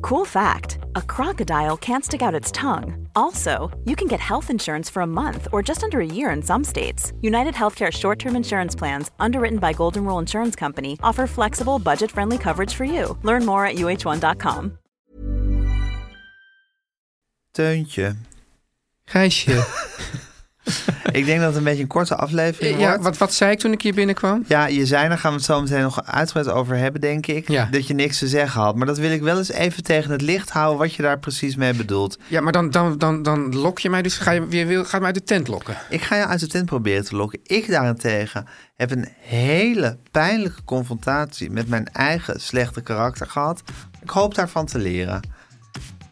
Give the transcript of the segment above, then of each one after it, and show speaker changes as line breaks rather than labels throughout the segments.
Cool fact a crocodile can't stick out its tongue. Also, you can get health insurance for a month or just under a year in some states. United Healthcare short term insurance plans, underwritten by Golden Rule Insurance Company, offer flexible, budget friendly coverage for you. Learn more at uh1.com.
Teuntje.
Gijsje.
Ik denk dat het een beetje een korte aflevering
ja,
wordt.
wat, wat zei ik toen ik hier binnenkwam?
Ja, je zei, daar gaan we het zo meteen nog uitgebreid over hebben, denk ik.
Ja.
Dat je niks te zeggen had. Maar dat wil ik wel eens even tegen het licht houden wat je daar precies mee bedoelt.
Ja, maar dan, dan, dan, dan lok je mij dus. Ga je weer wil- gaat mij uit de tent lokken.
Ik ga je uit de tent proberen te lokken. Ik daarentegen heb een hele pijnlijke confrontatie met mijn eigen slechte karakter gehad. Ik hoop daarvan te leren.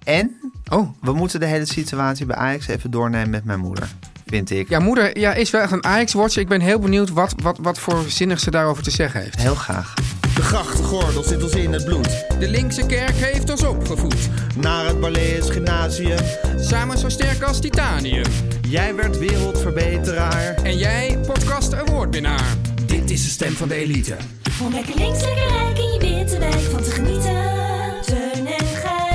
En
Oh.
we moeten de hele situatie bij Ajax even doornemen met mijn moeder, vind ik.
Ja, moeder ja, is wel echt een Ajax-watcher. Ik ben heel benieuwd wat, wat, wat voor zinnig ze daarover te zeggen heeft.
Heel graag.
De grachtgordel zit ons in het bloed.
De linkse kerk heeft ons opgevoed.
Naar het Balees Gymnasium.
Samen zo sterk als titanium.
Jij werd wereldverbeteraar.
En jij, podcast awardwinnaar. Dit is de stem van de elite.
Om lekker links, lekker rijk in je witte wijk van te genieten. Teun en Gijs.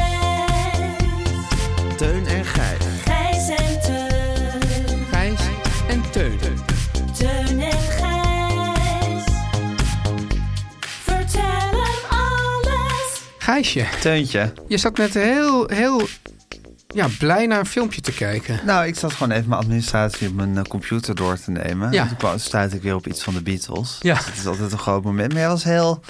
Teun en Gijs.
Gijs en Teun.
Gijs en Teun.
Teun en Gijs. Vertel hem alles.
Gijsje,
Teuntje.
je zat net heel, heel ja, blij naar een filmpje te kijken.
Nou, ik zat gewoon even mijn administratie op mijn eh, computer door te nemen.
Ja.
Ja. Toen kwam- stuitte ik weer op iets van de Beatles.
Ja.
Dat is altijd een groot moment. Maar hij was heel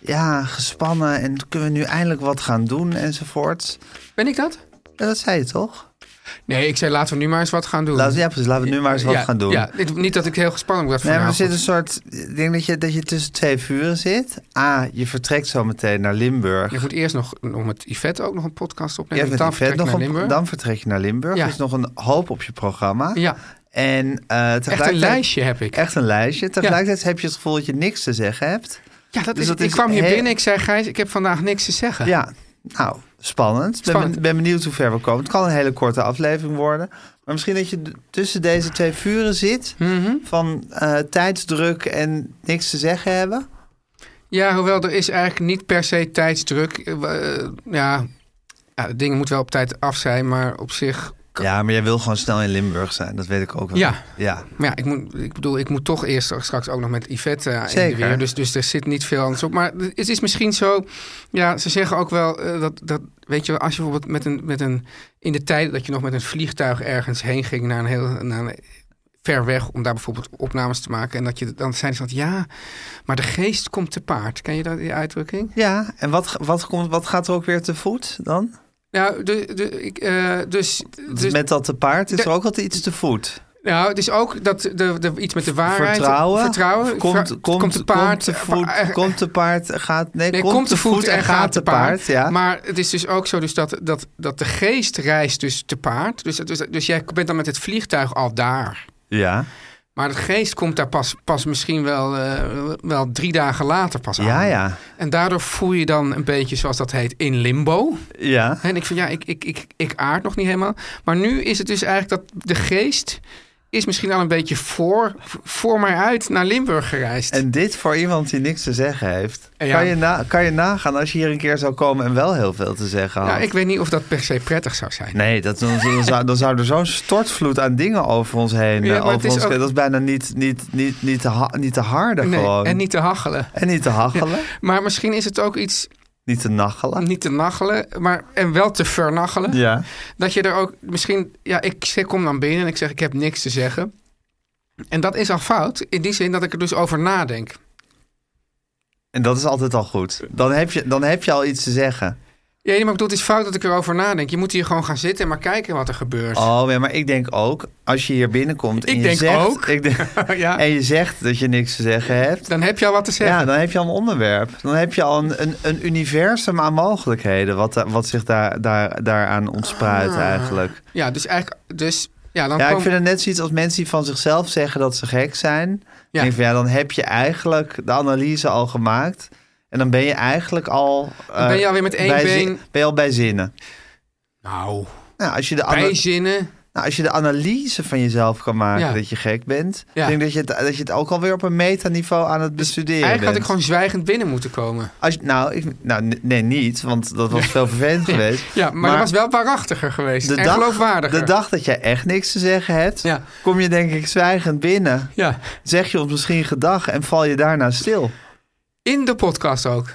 ja, gespannen en kunnen we nu eindelijk wat gaan doen enzovoorts.
Ben ik dat?
Ja, dat zei je toch?
Nee, ik zei laten we nu maar eens wat gaan doen.
Laten, ja, precies. Laten we nu maar eens wat
Ja,
gaan doen.
Ja, dit- niet dat ik heel gespannen ben.
Nee, maar er
vanavond.
zit een soort... Ik denk dat je, dat je tussen twee vuren zit. A, je vertrekt zo meteen naar Limburg.
Ik moet eerst nog nog met Yvette ook nog een podcast
Je
opnemen.
hebt met
dan
die vet
vertrek ik
nog
naar
een-
Limburg.
dan vertrek je naar Limburg.
Ja.
Er is nog een hoop op je programma.
Ja,
En, eh,
echt een
tegelijkertijd-
lijstje heb ik.
Echt een lijstje. Tegelijkertijd heb je het gevoel dat je niks te zeggen hebt.
Ja, dat
Dus
is,
dat
ik
is
kwam hier
heel-
binnen, ik zei Gijs, ik heb vandaag niks te zeggen.
Ja, nou, spannend. Ik Ben,
Spannend.
ben benieuwd hoe ver we komen. Het kan een hele korte aflevering worden. Maar misschien dat je d- tussen deze twee vuren zit...
Mhm.
van eh, tijdsdruk en niks te zeggen hebben.
Ja, hoewel er is eigenlijk niet per se tijdsdruk. Eh, w- eh, ja, ja, dingen moeten wel op tijd af zijn, maar op zich... kan-
Ja, maar jij wil gewoon snel in Limburg zijn. Dat weet ik ook wel.
Ja.
ja.
Maar ja, ik, moet, ik bedoel, ik moet toch eerst straks ook nog met Yvette eh, in de
Zeker.
weer. Dus, dus er zit niet veel anders op. Maar het is misschien zo... Ja, ze zeggen ook wel eh, dat, dat... Weet je, wel, als je bijvoorbeeld met een, met een... In de tijd dat je nog met een vliegtuig ergens heen ging... Naar een heel naar een, ver weg om daar bijvoorbeeld opnames te maken. En dat je dan zeiden ze dat... Ja, maar de geest komt te paard. Ken je dat, die uitdrukking?
Ja, en wat, g- wat, komt, wat gaat er ook weer te voet dan?
Nou, de, de, ik, eh, dus... dus
Met dat te paard is
De-
er ook altijd iets te voet.
Nou, het is ook dat de, de, iets met de waarheid...
vertrouwen.
Vertrouwen.
Komt,
vra-
komt, komt
te paard.
te voet,
eh,
komt te paard. Gaat, nee,
Nee, komt te voet en gaat te paard.
ja.
Maar het is dus ook zo dus dat, dat, dat de geest reist dus te paard. Dus, dus, dus jij bent dan met het vliegtuig al daar.
ja.
Maar de geest komt daar pas, pas misschien wel, eh, wel drie dagen later pas aan.
Ja, ja.
En daardoor voel je dan een beetje, zoals dat heet, in limbo.
Ja.
En ik vind, ja, ik, ik, ik, ik aard nog niet helemaal. Maar nu is het dus eigenlijk dat de geest is misschien al een beetje voor, voor mij uit naar Limburg gereisd.
En dit voor iemand die niks te zeggen heeft.
Ja.
Kan, je na, kan je nagaan als je hier een keer zou komen en wel heel veel te zeggen had?
nou, ik weet niet of dat per se prettig zou zijn.
Nee, dat, dan, dan zou, dan zou er zo'n stortvloed aan dingen over ons heen.
Ja,
eh,
maar het
over
is
ons,
ook-
Dat is bijna niet, niet, niet, niet, te, ha- niet te harden
Nee,
gewoon.
en niet te hachelen.
En niet te hachelen.
Maar misschien is het ook iets
Niet te nachelen.
niet te nachelen, maar en wel te vernachelen.
Ja.
Dat je er ook misschien, ja, ik zeg- kom dan binnen en ik zeg ik heb niks te zeggen. En dat is al fout, in die zin dat ik er dus over nadenk.
En dat is altijd al goed. Dan heb je, dan heb je al iets te zeggen.
Ja, maar ik bedoel, het is fout dat ik erover nadenk. Je moet hier gewoon gaan zitten en maar kijken wat er gebeurt.
Oh, ja, maar ik denk ook, als je hier binnenkomt en
Ik
je
denk
zegt...
ook.
Ik denk,
Ja.
En je zegt dat je niks te zeggen hebt.
Dan heb je al wat te zeggen.
Ja, dan heb je al een onderwerp. Dan heb je al een, een, een universum aan mogelijkheden... wat, da- wat zich daar, daar, daaraan ontspruit eigenlijk.
Ja, dus eigenlijk... Dus, ja, dan
Ja, ik
Ah. komen-
vind het net zoiets als mensen die van zichzelf zeggen dat ze gek zijn. Ik Denk van, ja, dan heb je eigenlijk de analyse al gemaakt. En dan ben je eigenlijk al... eh,
ben je alweer met één
bij
been-
zin- ben je al bij zinnen.
Nou,
Nou, als je de, ana-
bijzinnen.
nou, als je de analyse van jezelf kan maken
Ja.
dat je gek bent...
Ja. Dus
Ik denk dat je, het, dat je het ook alweer op een metaniveau aan het bestuderen
Eigenlijk had ik
bent.
gewoon zwijgend binnen moeten komen.
Als, je- nou, ik, nou, n- nee, niet, want dat was veel vervelend geweest.
Ja, maar, dat was wel waarachtiger geweest.
de
en
dag,
geloofwaardiger.
de dag dat jij echt niks te zeggen hebt,
Ja.
kom je denk ik zwijgend binnen.
Ja,
Zeg je ons misschien gedag en val je daarna stil.
in de podcast ook.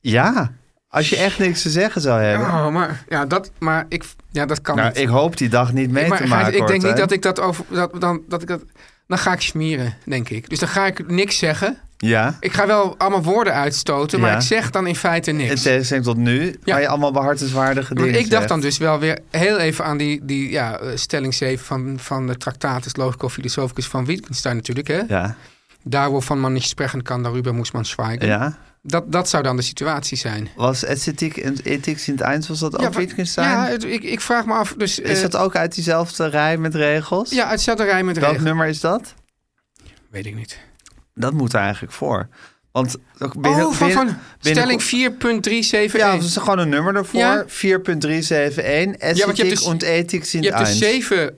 Ja, als je echt niks te zeggen zou hebben.
Oh, maar, ja, dat, maar ik, ja, dat kan
nou,
niet.
ik hoop die dag niet mee
maar
te
ga-
maken.
ik denk
Cor,
niet
hè?
dat ik dat over... Dat, dan, dat ik dat, dan ga ik smieren, denk ik. Dus dan ga ik niks zeggen.
Ja,
Ik ga wel allemaal woorden uitstoten, maar
Ja.
ik zeg dan in feite niks.
in tegenstelling tot nu,
Ja.
waar je allemaal behartenswaardige
Want
dingen
ik dacht
zegt.
dan dus wel weer heel even aan die, die ja, eh, stelling 7 van, van de Tractatus Logico Philosophicus van Wittgenstein natuurlijk. Hè?
Ja,
Daar van man niet spreken kan, darüber moest man zwijgen.
ja.
Dat, dat zou dan de situatie zijn.
Was ethiek en ethiek in het eind, was dat ook
maar-
Wittgenstein?
Ja, het- ik, ik vraag me af. Dus,
Is
eh,
dat ook uit diezelfde rij met regels?
Ja, uit Zelderij met
Welk
regen.
nummer is dat?
Weet ik niet.
Dat moet er eigenlijk voor. Want ook binnen,
Oh, van,
binnen-
van
binnen-
stelling 4.371.
Ja, dat is gewoon een nummer ervoor.
Ja.
4.371. Ethiek
Ja, want je hebt dus-
und Ethik sind
Je hebt dus
eins.
zeven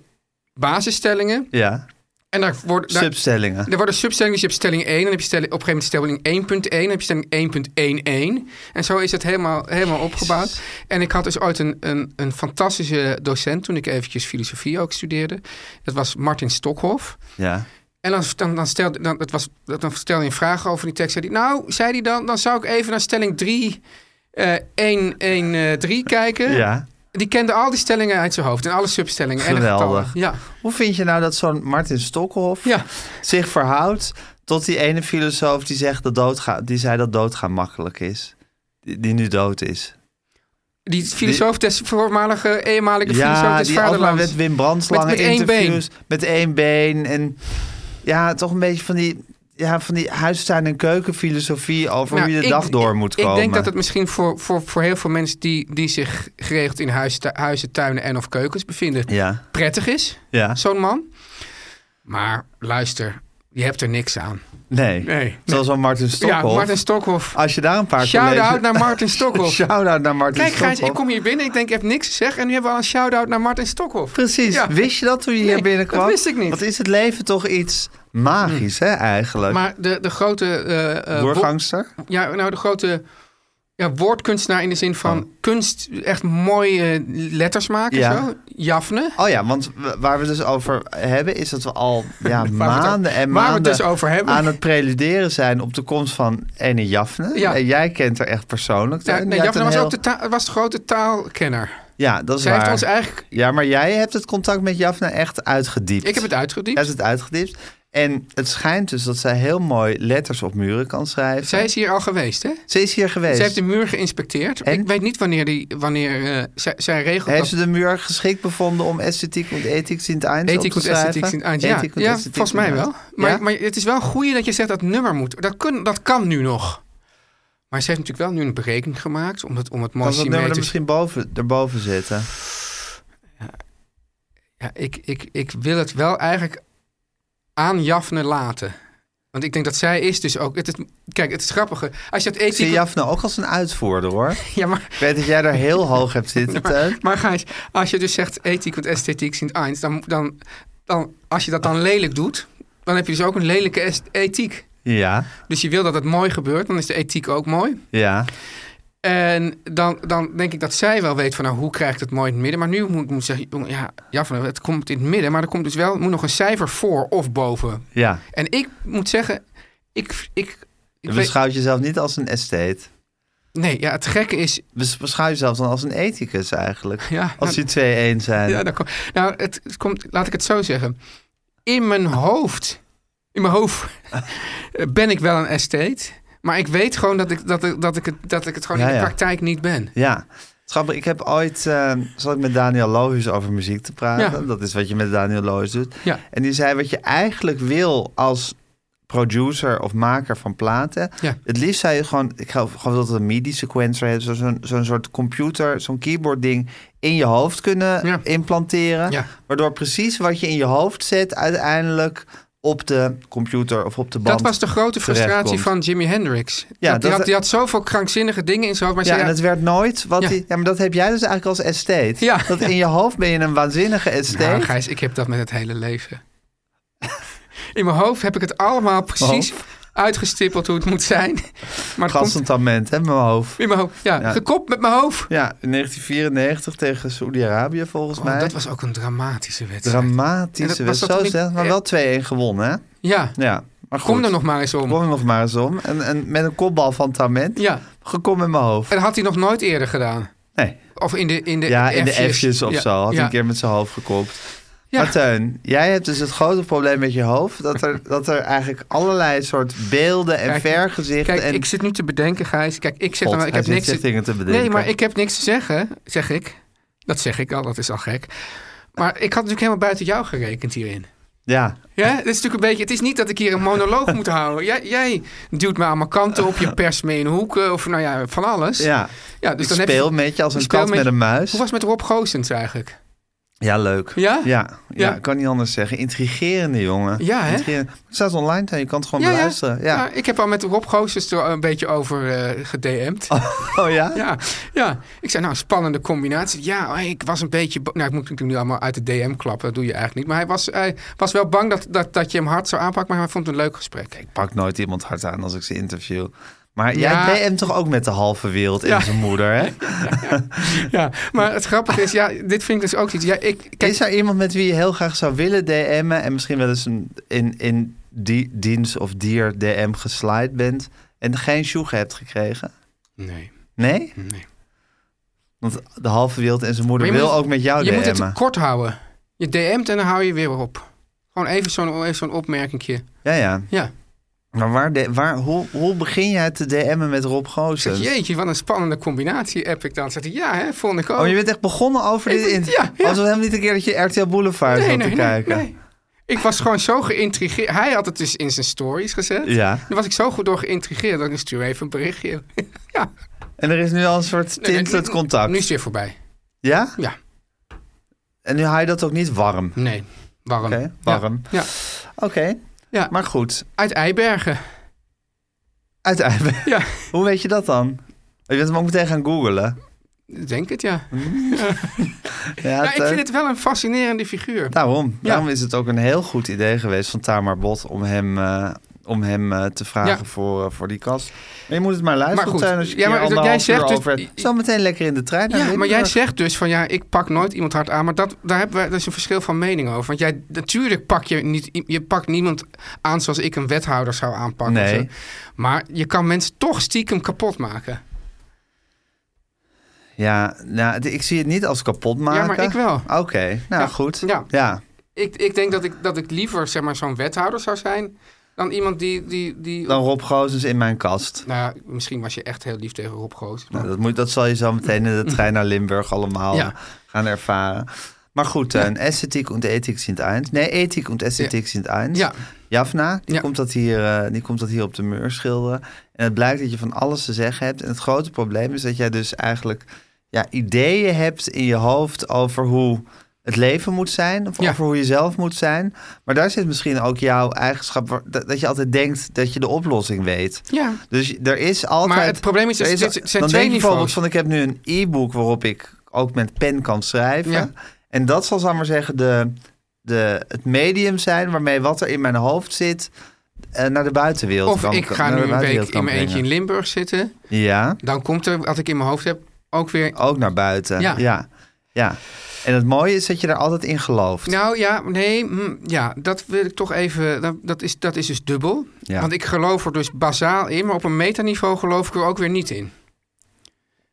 basisstellingen.
Ja,
En daar worden, daar,
substellingen.
er worden substellingen. Dus je hebt stelling 1. En heb je stelling, op een gegeven moment stelling 1.1. En heb je stelling 1.11. En zo is het helemaal, helemaal opgebouwd. En ik had dus ooit een, een, een fantastische docent. Toen ik eventjes filosofie ook studeerde. Dat was Martin Stokhoff.
Ja.
En dan, dan, dan, stelde, dan, het was, dat- dan stelde je een vraag over die tekst. Zei die, nou, zei hij dan, dan zou ik even naar stelling 3, eh 1, 1, eh, 3 kijken.
ja.
Die kende al die stellingen uit zijn hoofd en alle substellingen.
Geweldig.
En de getallen. ja.
Hoe vind je nou dat zo'n Martin Stokhoff
Ja.
zich verhoudt tot die ene filosoof die, zegt dat doodga die zei dat doodgaan makkelijk is? Die, die nu dood is.
Die filosoof des voormalige, eenmalige filosoof
ja,
des
die altijd maar
vaderlands.
met Wim Brandslangen
Met- met één
interviews. Met één been. En ja, toch een beetje van die, ja, van die huistuin- en keukenfilosofie over
Nou,
hoe je de
ik-
dag door moet komen.
Ik denk dat het misschien voor, voor, voor heel veel mensen die, die zich geregeld in huis, tu- huizen, tuinen en of keukens bevinden,
Ja,
prettig is,
ja.
zo'n man. Maar luister, je hebt er niks aan.
Nee.
Nee.
Zoals al Martin Stokhoff.
Ja, Martin Stokhoff.
Als je daar een paar
Shout-out naar Martin Stokhoff.
Shout-out naar Martin
Kijk Gijs,
Stokhoff.
ik kom hier binnen, ik denk ik heb niks gezegd en nu hebben we al een shout-out naar Martin Stokhoff.
Precies.
Ja.
Wist je dat toen je
Nee,
hier binnenkwam?
dat wist ik niet. Hm.
Wat is het leven toch iets magisch, hè, eigenlijk?
Maar de, de grote... eh, eh,
Doorgangster?
wo- Ja, nou, de grote ja, woordkunstenaar in de zin van kunst, echt mooie letters maken.
Oh. Ja.
Zo. Jafne.
Oh ja, want w- waar we het dus over hebben... is dat we al ja, maanden en maanden
waar we het dus over hebben.
aan het preluderen zijn... op de komst van Ene Jafne.
Ja.
En jij kent haar echt persoonlijk.
Ja,
hè? Die
nee,
had
Jafne
een
was
heel-
ook de, ta- was de grote taalkenner.
Ja, dat is
Zij
waar.
heeft ons eigenlijk...
Ja, maar jij hebt het contact met Jafna echt uitgediept.
Ik heb het uitgediept.
Jij hebt het uitgediept. En het schijnt dus dat zij heel mooi letters op muren kan schrijven.
Zij is hier al geweest, hè?
Ze is hier geweest.
Zij heeft de muur geïnspecteerd.
En?
Ik weet niet wanneer, die, wanneer eh, zij, zij regelt
Heeft
dat-
ze de muur geschikt bevonden om esthetiek en ethiek in het eind op
Ethiek
te
moet
schrijven?
esthetiek zien. Ah, ja,
Ethiek en
ja,
esthetiek
volgens mij
in het
wel.
eind.
Maar,
Ja?
maar het is wel goed dat je zegt dat het nummer moet. Dat, kun, dat kan nu nog. Maar ze heeft natuurlijk wel nu een berekening gemaakt om het, om het mooi
kan dat nummer er
symmetrisch...
misschien boven, erboven zitten?
Ja, ik, ik, ik wil het wel eigenlijk aan Jafne laten. Want ik denk dat zij is dus ook... Het is, kijk, het is grappige. Als je dat
Ik zie
ethiek...
Jafna ook als een uitvoerder, hoor.
Ja, maar
Ik weet dat jij daar heel hoog hebt zitten, Teun.
Maar Gijs, als je dus zegt ethiek want esthetiek sint eins, dan, dan, dan, als je dat dan lelijk doet, dan heb je dus ook een lelijke est- ethiek.
Ja,
Dus je wil dat het mooi gebeurt, dan is de ethiek ook mooi.
ja.
En dan, dan denk ik dat zij wel weet van nou, hoe krijg ik het mooi in het midden. Maar nu moet ik moet zeggen, jongen, ja, ja van, het komt in het midden, maar er komt dus wel, moet nog een cijfer voor of boven.
ja.
En ik moet zeggen, ik... ik, ik
Je
weet-
beschouwt jezelf niet als een estheet.
nee, ja, het gekke is...
Bes- Beschouw jezelf dan als een ethicus eigenlijk.
Ja,
Als
nou-
die twee één zijn.
Ja, dan kom- nou, het, het komt, laat ik het zo zeggen. In mijn hoofd, in mijn hoofd eh, ben ik wel een estate. Maar ik weet gewoon dat ik, dat ik, dat ik, het, dat ik het gewoon
Ja,
in de
ja.
praktijk niet ben.
Ja. Grappig, ik heb ooit, eh zat ik met Daniel Lohuis over muziek te praten.
Ja.
Dat is wat je met Daniel Lohuis doet.
Ja.
En die zei, wat je eigenlijk wil als producer of maker van platen.
Ja.
Het liefst zou je gewoon, ik geloof, geloof dat het een MIDI-sequencer heeft. zo- Zo'n zo'n soort computer, zo'n keyboard-ding in je hoofd kunnen
Ja.
implanteren.
Ja.
Waardoor precies wat je in je hoofd zet uiteindelijk op de computer of op de band
Dat was de grote frustratie
terechtkomt.
van Jimi Hendrix.
Ja,
dat, die,
dat-
had, die had zoveel krankzinnige dingen in zijn hoofd. Maar
Dus Ja,
zei,
en het werd nooit wat
Ja.
die- Ja, maar dat heb jij dus eigenlijk als estate.
Ja.
Dat in je hoofd ben je een waanzinnige estate.
Nou, Gijs, ik heb dat met het hele leven. In mijn hoofd heb ik het allemaal precies uitgestippeld hoe het moet zijn. Maar het komt
Gastentament, hè, met mijn hoofd.
in mijn hoofd. Ja,
Ja.
gekopt met mijn hoofd.
Ja, in 1994 tegen Saoedi-Arabië volgens
Oh,
mij.
dat was ook een dramatische wedstrijd. En dat
Dramatische
was
wedstrijd.
dat
Zo
niet-
zelf, maar wel 2-1 gewonnen, hè?
ja,
Ja. Maar goed,
kom er nog maar eens om.
Kom er nog maar eens om. En, en met een kopbal van Tament.
Ja,
Gekomen in mijn hoofd.
en dat had hij nog nooit eerder gedaan.
Nee.
Of in de in de
Ja, in de F'jes of
Ja,
zo. Had
ja.
een keer met zijn hoofd gekopt.
Ja.
Maar Teun, jij hebt dus het grote probleem met je hoofd... dat er, dat er eigenlijk allerlei soort beelden en
Kijk,
vergezichten...
Kijk,
en
ik zit nu te bedenken, Gijs. Kijk, ik zeg
God,
dan wel, ik
hij
heb
zit
niks
zich dingen te bedenken.
Nee, maar ik heb niks te zeggen, zeg ik. Dat zeg ik al, dat is al gek. Maar ik had natuurlijk helemaal buiten jou gerekend hierin.
Ja,
Ja, dit is natuurlijk een beetje. Het is niet dat ik hier een monoloog moet houden. Jij, jij duwt me aan mijn kanten op, je perst me in hoeken of nou ja, van alles.
ja.
Ja, dus
ik
dan
speel
heb je,
met je als
ik
een
speel
kat
met
met,
je-
een muis.
Hoe was het met Rob Goossens eigenlijk?
Ja, leuk.
Ja?
Ja, ja,
Ja.
kan niet anders zeggen. Intrigerende jongen.
Ja, hè?
Intrigerende. Het staat online, Teun, je kan het gewoon beluisteren. Ja.
Nou, ik heb al met Rob Goossens er een beetje over eh gedm'd.
Oh ja?
Ja, ja, ik zei nou, spannende combinatie. Ja, oh, ik was een beetje... bo- Nou, ik moet natuurlijk nu allemaal uit de DM klappen. Dat doe je eigenlijk niet. Maar hij was, hij was wel bang dat, dat, dat je hem hard zou aanpakken. Maar hij vond het een leuk gesprek.
Ik pak nooit iemand hard aan als ik ze interview. Maar
Ja.
jij DM't toch ook met de halve wereld en
Ja.
zijn moeder, hè?
Ja, maar het grappige is, ja, dit vind ik dus ook iets. Ja, ik, kijk,
Is er iemand met wie je heel graag zou willen DM'en... en misschien wel eens een, in, in die, dienst of dier DM geslide bent... en geen sjoeg hebt gekregen?
nee,
Nee?
nee.
Want de halve wereld en zijn moeder
Maar je
wil
moet-
ook met jou
Je
DM'en.
moet het kort houden. Je DM't en dan hou je weer op. Gewoon even zo'n even zo'n opmerkingje.
Ja, ja.
Ja.
Maar waar, de- waar, hoe, hoe begin jij te DM'en met Rob
Zeg,
Goossens?
jeetje, wat een spannende combinatie heb ik dan. Zegt hij, ja, hè, vond ik ook.
Oh, je bent echt begonnen over
Ik
dit
ben-
interview.
ja, ja.
Alsof helemaal niet een keer dat je RTL Boulevard zat te kijken.
nee. Ik was gewoon zo geïntrigeerd. Hij had het dus in zijn stories gezet.
Ja.
Daar was ik zo goed door geïntrigeerd dat ik stuur even een berichtje. ja.
En er is nu al een soort
Nee,
tintend
nu-
contact.
Nu is het weer voorbij.
Ja?
Ja,
En nu haal je dat ook niet warm.
nee. Warm.
Oké, warm.
Ja.
Oké,
Ja. ja,
maar goed.
uit Eibergen.
Uiteindelijk.
Ja,
Hoe weet je dat dan? Je bent hem ook meteen gaan googlen.
ik denk het, ja.
Ja,
Ja, ik
Teun.
vind het wel een fascinerende figuur.
Daarom.
Ja.
Daarom is het ook een heel goed idee geweest van Tamar Bot om hem, eh, om hem eh, te vragen
Ja.
voor, eh, voor die kast. Maar je moet het maar luisteren,
Maar goed.
Teun, als je
Ja, maar
maar,
dat-
anderhalf
jij
uur
zegt dus-
over hebt. Zo meteen lekker in de trein. naar
Ja, maar jij
Limburg.
zegt dus van ja, ik pak nooit iemand hard aan. Maar dat, daar hebben wij dus een verschil van mening over. Want jij, natuurlijk pak je niet, je pakt niemand aan zoals ik een wethouder zou aanpakken.
Nee.
of zo. Maar je kan mensen toch stiekem kapot maken.
Ja, nou, d- ik zie het niet als kapot maken.
Ja, maar ik wel.
Oké, nou
Ja,
goed.
ja.
ja.
Ik, ik denk dat ik, dat ik liever zeg maar zo'n wethouder zou zijn dan iemand die. die, die
Dan Rob Gozens in mijn kast.
Nou, ja, misschien was je echt heel lief tegen Rob Goos.
Nou, dat, moet, dat zal je zo meteen in de trein naar Limburg allemaal
Mm. Ja.
eh, gaan ervaren. Maar goed, een esthetiek en ethiek sind eins. Nee, ethiek en esthetiek sind eins.
Ja.
Jafna, die,
Ja.
komt dat hier, eh, die komt dat hier op de muur schilderen. En het blijkt dat je van alles te zeggen hebt. En het grote probleem is dat jij dus eigenlijk ja, ideeën hebt in je hoofd over hoe het leven moet zijn. Of
Ja.
over hoe je zelf moet zijn. Maar daar zit misschien ook jouw eigenschap, waar- dat, dat je altijd denkt dat je de oplossing weet.
Ja.
Dus er is altijd.
Maar het probleem is,
er
het zijn
dan
twee
denk je bijvoorbeeld
niveaus.
van: ik heb nu een e-book waarop ik ook met pen kan schrijven.
Ja.
En dat zal, zal ik maar zeggen, de, de, het medium zijn waarmee wat er in mijn hoofd zit eh, naar de buitenwereld
Of
kan
ik ga
naar de
nu een
buitenwereld
week
kan
in mijn eentje in
brengen.
Limburg zitten.
Ja,
Dan komt er, wat ik in mijn hoofd heb, ook weer.
ook naar buiten. Ja.
Ja.
ja. En het mooie is dat je daar altijd in gelooft.
Nou ja, nee, hm, ja, dat wil ik toch even. Dat, dat, is, dat is dus dubbel.
Ja.
Want ik geloof er dus bazaal in, maar op een metaniveau geloof ik er ook weer niet in.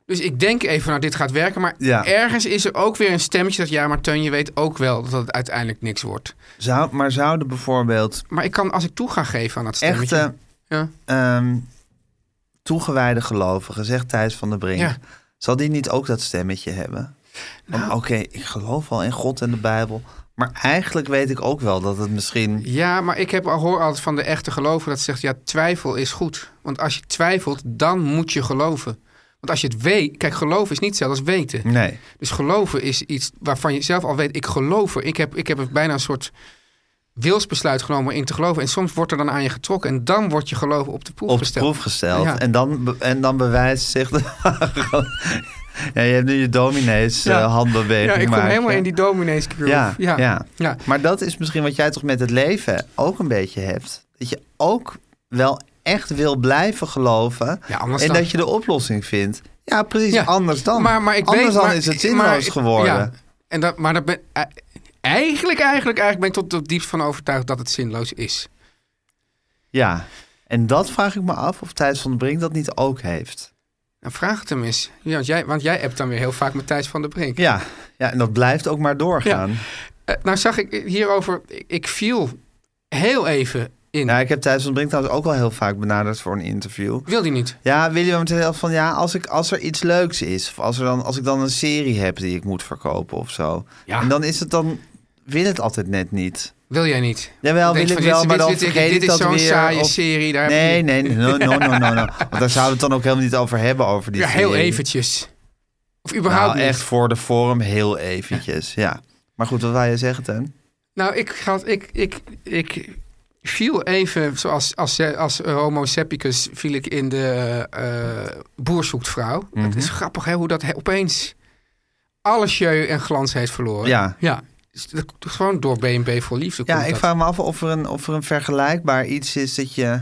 Dus ik denk even, nou, dit gaat werken. Maar
Ja.
ergens is er ook weer een stemmetje dat, ja, maar Teun, je weet ook wel dat het uiteindelijk niks wordt.
Zou, maar zouden bijvoorbeeld
Maar ik kan, als ik toe ga geven aan dat stemmetje.
echte
Ja.
ehm, toegewijde gelovigen, zegt Thijs van der Brink...
Ja. Nou.
Zal die niet ook dat stemmetje hebben? Van, Oké, ik geloof wel in God en de Bijbel. Maar eigenlijk weet ik ook wel dat het misschien...
Ja, maar ik heb al hoor altijd van de echte geloven dat ze zegt, ja, twijfel is goed. Want als je twijfelt, dan moet je geloven. Want als je het weet, kijk, geloven is niet hetzelfde als weten.
Nee.
Dus geloven is iets waarvan je zelf al weet, ik geloof er. Ik heb, ik heb bijna een soort wilsbesluit genomen in te geloven. En soms wordt er dan aan je getrokken en dan wordt je geloven op de proef
op de
gesteld.
proef gesteld.
Ja.
En, dan, be- en dan bewijst zich... De, ja, je hebt nu je dominees eh
Ja.
handbeweging.
ja, ik kom
maken.
helemaal in die dominees
Ja, ja.
ja. ja.
Maar dat is misschien wat jij toch met het leven ook een beetje hebt. Dat je ook wel echt wil blijven geloven.
Ja, anders
en
dan.
dat je de oplossing vindt. Ja, precies.
Ja,
Anders dan.
Maar, maar ik
anders
weet,
dan
maar-
is het
maar-
zinloos geworden.
Ja, en dat, maar dat ben, eh, eigenlijk, eigenlijk, eigenlijk ben ik tot het diepst van overtuigd dat het zinloos is.
Ja. En dat vraag ik me af of Thijs van den Brink dat niet ook heeft.
Nou, vraag het hem eens. Ja, want, jij, want jij appt dan weer heel vaak met Thijs van der Brink.
Ja. ja, en dat blijft ook maar doorgaan.
Eh, nou zag ik hierover, ik, ik viel heel even in.
Nou, ik heb Thijs van den Brink trouwens ook al heel vaak benaderd voor een interview.
Wil die niet?
Ja, William zei van ja, als, ik, als er iets leuks is, of als, er dan, als ik dan een serie heb die ik moet verkopen of zo.
Ja.
En dan is het dan, wil het altijd net niet.
Wil jij niet?
Jawel,
Dan denk
wil
je
ik
van,
wel,
dit-
maar
dit-
dan
dit-
vergeet
dit
ik
is
dat
zo'n
weer.
saaie
of-
serie, daar heb je
nee,
niet-
nee, no, no, no, no, no. Want daar zouden we het dan ook helemaal niet over hebben, over die
Ja, heel
serie.
eventjes. Of
Nou,
überhaupt niet.
echt voor de vorm heel eventjes, ja. Maar goed, wat wil je zeggen, Ten?
Nou, ik, had, ik, ik, ik viel even, zoals als, als homo sepicus, viel ik in de eh boer zoekt vrouw. Het
Mhm.
is grappig hè, hoe dat he- opeens alle jeu en glans heeft verloren.
Ja.
ja. Dus dat- Gewoon door BNB voor liefde
Ja,
komt
ik
dat.
vraag me af of er een, of er een vergelijkbaar iets is dat je,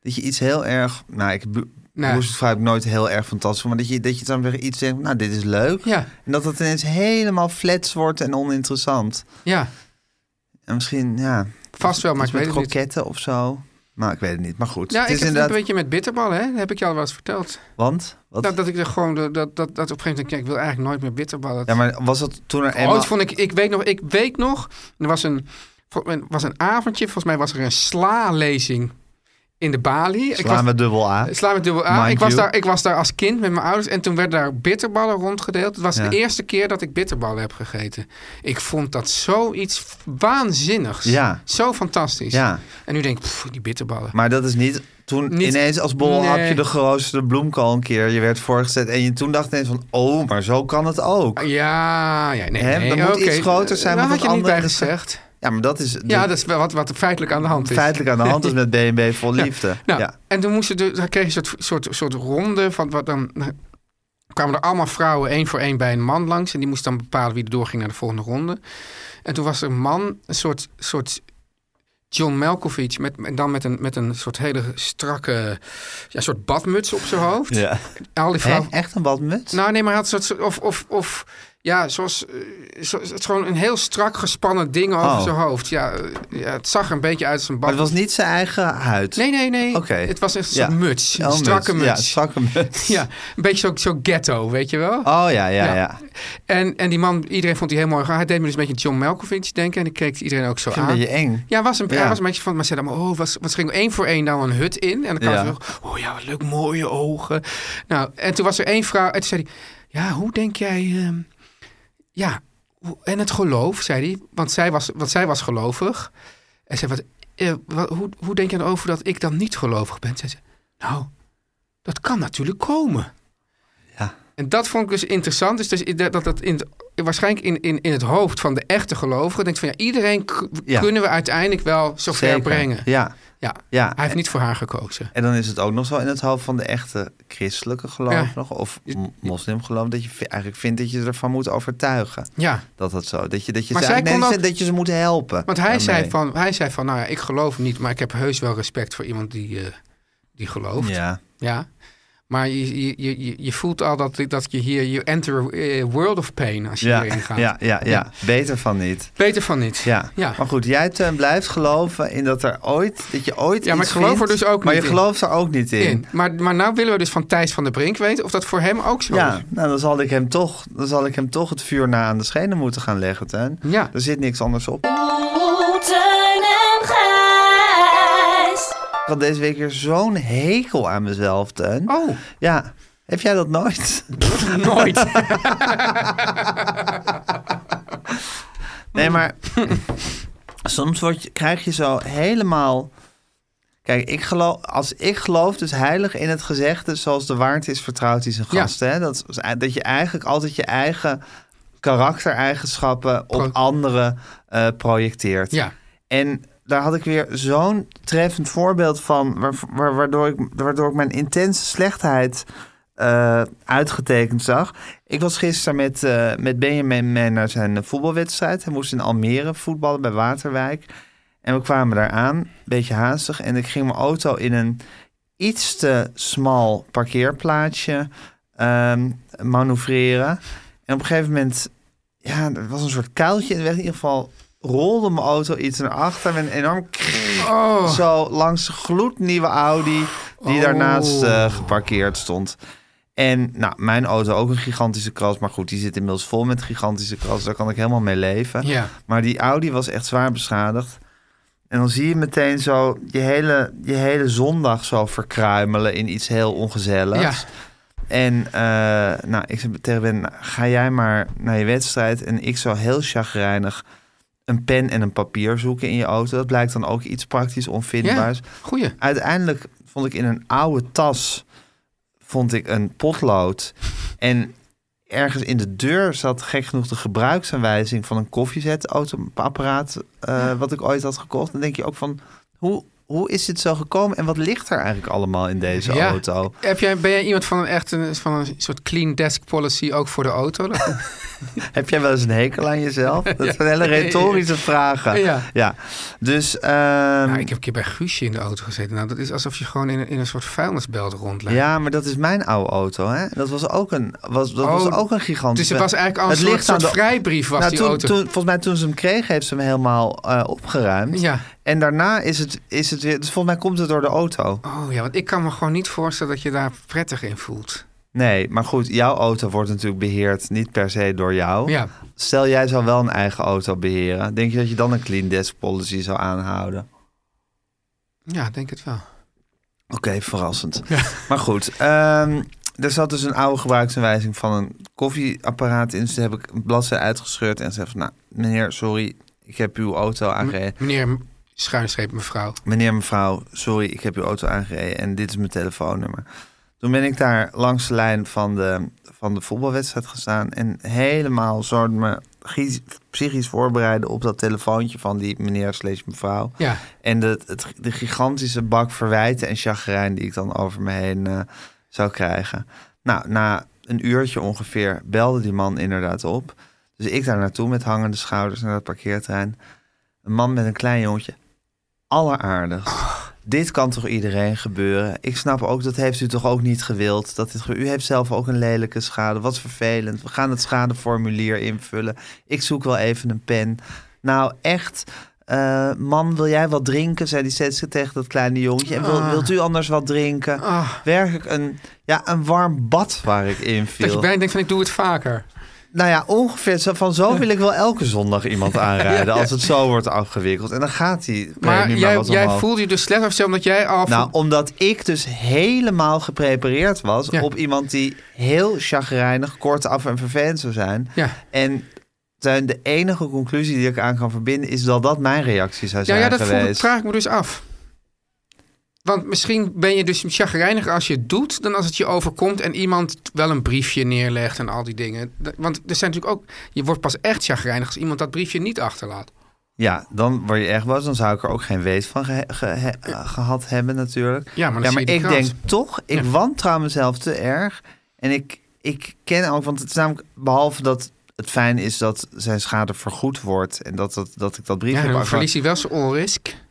dat je iets heel erg... Nou, ik bu-
Nou.
Boerzoet vrouw heb ik nooit heel erg fantastisch, maar dat je, dat je dan weer iets denkt, nou, dit is leuk.
Ja,
En dat het ineens helemaal flats wordt en oninteressant.
ja,
En misschien, ja...
vast wel, maar
iets
ik weet
met
het niet.
kroketten of zo. Nou, ik weet het niet, maar goed.
Ja,
het
ik
is
heb het
inderdaad...
een beetje met bitterballen, hè? Dat heb ik je al wel eens verteld.
Want? Wat?
Dat, dat ik er gewoon, dat, dat, dat op een gegeven moment denk, kijk, ik wil eigenlijk nooit meer bitterballen.
Ja, maar was dat toen er eenmaal...
Ooit Oh, vond ik, ik weet nog, ik weet nog, er was een, er was een avondje, volgens mij was er een sla-lezing in de Bali. Ik was-
Slaan we dubbel A.
Sla met dubbel A.
Mind
Ik was,
you.
daar, ik was daar als kind met mijn ouders en toen werden daar bitterballen rondgedeeld. Het was
Ja.
de eerste keer dat ik bitterballen heb gegeten. Ik vond dat zoiets waanzinnigs.
Ja.
Zo fantastisch.
Ja,
En nu denk ik, pff, die bitterballen.
maar dat is niet... Toen
Niet-
ineens als bolhapje
Nee.
de geroosterde bloemkool een keer... je werd voorgezet en je toen dacht ineens van... oh, maar zo kan het ook.
Ah, Ja, ja, nee,
Hè,
nee.
dan moet
oké.
iets groter zijn,
Daar
want
had je
het
niet bij
andere is-
gezegd.
Ja, maar dat is de-
Ja, dat is wel wat, wat er feitelijk aan de hand is.
feitelijk aan de hand is met BNB vol liefde.
Nou,
ja.
En toen moesten de, dan kreeg je een soort, soort, soort ronde van wat dan. nou, kwamen er allemaal vrouwen één voor één bij een man langs. En die moest dan bepalen wie er doorging naar de volgende ronde. En toen was er een man, een soort, soort John Malkovich. Met, en dan met een, met een soort hele strakke. Ja, soort badmuts op zijn hoofd.
Ja.
En al die
Hè?
vrouwen.
Echt een badmuts?
Nou, nee, maar hij had een soort. Of, of, of ja, zoals. eh, Zo, het is gewoon een heel strak gespannen ding over
Oh.
zijn hoofd. Ja, eh, ja, het zag er een beetje uit als een
maar het
bad.
was niet zijn eigen huid.
Nee, nee, nee.
Oké.
Het was echt een
Ja.
soort muts. Een
Oh,
strakke muts.
Ja, strakke muts.
Ja, een beetje zo, zo ghetto, weet je wel.
Oh ja, ja,
Ja.
ja.
En, en die man, iedereen vond die heel mooi. Hij deed me dus een beetje John Malkovich denken. En ik keek iedereen ook zo
Ik vind het
aan.
een beetje eng.
Ja, was een,
Ja.
hij was een beetje van, maar ze allemaal, oh, was, was ging één voor één nou een hut in. En dan kwam
Ja.
ze terug, oh ja, wat leuk, mooie ogen. Nou, en toen was er één vrouw, en toen zei hij, ja, hoe denk jij, ehm, ja, hoe- en het geloof, zei hij, want zij was, want zij was gelovig. En zei, wat, eh, wat- hoe, hoe denk je dan over dat ik dan niet gelovig ben? Zei ze, nou, dat kan natuurlijk komen.
Ja.
En dat vond ik dus interessant. Dus, dus in dat, dat- dat in, waarschijnlijk in, in, in het hoofd van de echte gelovigen denkt van ja, iedereen k-
Ja.
kunnen we uiteindelijk wel zover
Zeker.
brengen.
Ja.
Ja.
ja.
Hij heeft niet voor haar gekozen.
En dan is het ook nog zo in het hoofd van de echte christelijke geloof
Ja.
nog, of m- moslimgeloof, dat je vi- eigenlijk vindt dat je ze ervan moet overtuigen.
Ja,
Dat dat zo. Dat je, dat je,
Maar
ze,
zij
eigenlijk-
kon
nee,
ook-
dat je ze moet helpen.
want hij
daarmee.
zei, van, hij zei van nou ja, ik geloof niet, maar ik heb heus wel respect voor iemand die, eh, die gelooft. Ja.
Ja,
Maar je, je- je, je, je voelt al dat, dat je hier, you enter a eh, world of pain als je
ja,
hierin gaat.
ja, ja, ja,
Ja.
Beter van niet.
Beter van niet.
Ja.
Ja.
maar goed, jij Teun, blijft geloven in dat er ooit, dat je ooit
Ja, maar
iets
ik geloof er
vindt,
dus ook
Maar
niet
je
in.
gelooft er ook niet in.
In. Maar, maar nou willen we dus van Thijs van der Brink weten of dat voor hem ook zo
Ja,
is.
nou dan zal ik hem toch, dan zal ik hem toch het vuur na aan de schenen moeten gaan leggen, Teun.
Ja.
Er zit niks anders op.
Oeh, Teun en Gijs.
Ik had deze week weer zo'n hekel aan mezelf, Teun.
Oh,
Ja, Heb jij dat nooit?
Nooit. Hmm.
Nee, maar soms word je, krijg je zo helemaal. Kijk, ik geloof, als ik geloof dus heilig in het gezegde, zoals de waard is, vertrouwd is een
Ja.
gast. Hè? Dat, is- dat je eigenlijk altijd je eigen karaktereigenschappen op
Pro-
anderen eh, projecteert.
ja.
En daar had ik weer zo'n treffend voorbeeld van, waar- waar- waardoor, ik, waardoor ik mijn intense slechtheid eh, uitgetekend zag. Ik was gisteren met, eh, met Benjamin mee naar zijn eh, voetbalwedstrijd. Hij moest in Almere voetballen bij Waterwijk. En we kwamen daar aan, een beetje haastig. En ik ging mijn auto in een iets te smal parkeerplaatsje ehm, manoeuvreren. En op een gegeven moment, ja, er was een soort kuiltje in de weg. In ieder geval rolde mijn auto iets naar achter met een enorm krrrr.
Oh.
zo langs de gloednieuwe Audi die
Oh.
daarnaast eh, geparkeerd stond. En nou, mijn auto ook een gigantische kras. Maar goed, die zit inmiddels vol met gigantische kras. Daar kan ik helemaal mee leven.
Ja.
Maar die Audi was echt zwaar beschadigd. En dan zie je meteen zo je hele, je hele zondag zo verkruimelen in iets heel ongezelligs.
Ja.
En eh, nou, ik zei tegen Ben, nou, ga jij maar naar je wedstrijd. En ik zou heel chagrijnig een pen en een papier zoeken in je auto. Dat blijkt dan ook iets praktisch
ja.
onvindbaars.
Goeie.
Uiteindelijk vond ik in een oude tas vond ik een potlood. En ergens in de deur zat gek genoeg de gebruiksaanwijzing van een koffiezetapparaat... eh, wat ik ooit had gekocht. Dan denk je ook van, hoe, hoe is dit zo gekomen? En wat ligt er eigenlijk allemaal in deze
Ja.
auto?
Heb jij, ben jij iemand van een, echt een, van een soort clean desk policy ook voor de auto? Dat-
Ehm. Heb jij wel eens een hekel aan jezelf? Dat zijn hele retorische vragen.
Ja.
Dus, ehm,
Nou, ik heb een keer bij Guusje in de auto gezeten. Nou, dat is alsof je gewoon in, een- in een soort vuilnisbelt rondloopt.
ja, maar dat is mijn oude auto. Hè? Dat was ook een, was, dat was
Oh,
ook een gigantisch.
Dus het was eigenlijk al een soort, soort vrijbrief was
nou,
die
toen,
auto.
Toen, volgens mij toen ze hem kreeg, heeft ze hem helemaal eh, opgeruimd.
Ja.
En daarna is het, is het weer... Dus volgens mij komt het door de auto.
Oh ja, want ik kan me gewoon niet voorstellen dat je daar prettig in voelt.
Nee, maar goed, jouw auto wordt natuurlijk beheerd niet per se door jou.
Ja.
Stel, jij zou wel een eigen auto beheren. Denk je dat je dan een clean desk policy zou aanhouden?
Ja, ik denk het wel.
Oké, verrassend. Maar goed, ehm, er zat dus een oude gebruiksaanwijzing van een koffieapparaat in. Dus daar heb ik een bladzijde uitgescheurd en zei van... Nou, meneer, sorry, ik heb uw auto aangereden.
Meneer schuinstreep mevrouw.
meneer, mevrouw, sorry, ik heb uw auto aangereden en dit is mijn telefoonnummer. Toen ben ik daar langs de lijn van de, van de voetbalwedstrijd gestaan en helemaal zo me gies- psychisch voorbereiden op dat telefoontje van die meneer slash mevrouw.
Ja.
En de, het, de gigantische bak verwijten en chagrijn die ik dan over me heen eh, zou krijgen. Nou, na een uurtje ongeveer belde die man inderdaad op. Dus ik daar naartoe met hangende schouders naar dat parkeerterrein. Een man met een klein jongetje. Alleraardigst.
Oh.
Dit kan toch iedereen gebeuren? Ik snap ook, dat heeft u toch ook niet gewild? Dat dit, ge- u heeft zelf ook een lelijke schade. Wat vervelend. We gaan het schadeformulier invullen. Ik zoek wel even een pen. Nou, echt. eh, man, wil jij wat drinken? Zei die steeds tegen dat kleine jongetje. En
Ah.
wil, wilt u anders wat drinken? Werkelijk een, ja, een warm bad waar ik in viel.
Dat je bijna denkt van ik doe het vaker.
Nou ja, ongeveer zo- van zo wil ik wel elke zondag iemand aanrijden als het zo wordt afgewikkeld. En dan gaat hij
Maar
nu
jij,
wat
jij
omhoog.
voelde je dus slecht of zo omdat jij al...
Nou, omdat ik dus helemaal geprepareerd was
Ja.
op iemand die heel chagrijnig, kortaf en vervelend zou zijn.
Ja.
En Teun, de enige conclusie die ik aan kan verbinden is dat dat mijn reactie zou
ja,
zijn
ja, dat voelde,
geweest.
vraag ik me dus af. Want misschien ben je dus chagrijniger als je het doet... dan als het je overkomt en iemand wel een briefje neerlegt en al die dingen. Dat- Want er zijn natuurlijk ook... Je wordt pas echt chagrijnig als iemand dat briefje niet achterlaat.
Ja, dan word je echt boos. Dan zou ik er ook geen weet van gehe- gehe- eh, gehad hebben natuurlijk.
Ja, maar dan zie je die
ik
kans.
denk toch, ik
Ja.
wantrouw mezelf te erg. En ik, ik ken ook, want het is namelijk, behalve dat het fijn is dat zijn schade vergoed wordt... en dat, dat, dat ik dat briefje
Ja,
heb
dan
afgehaald.
verlies hij wel zijn onrisk.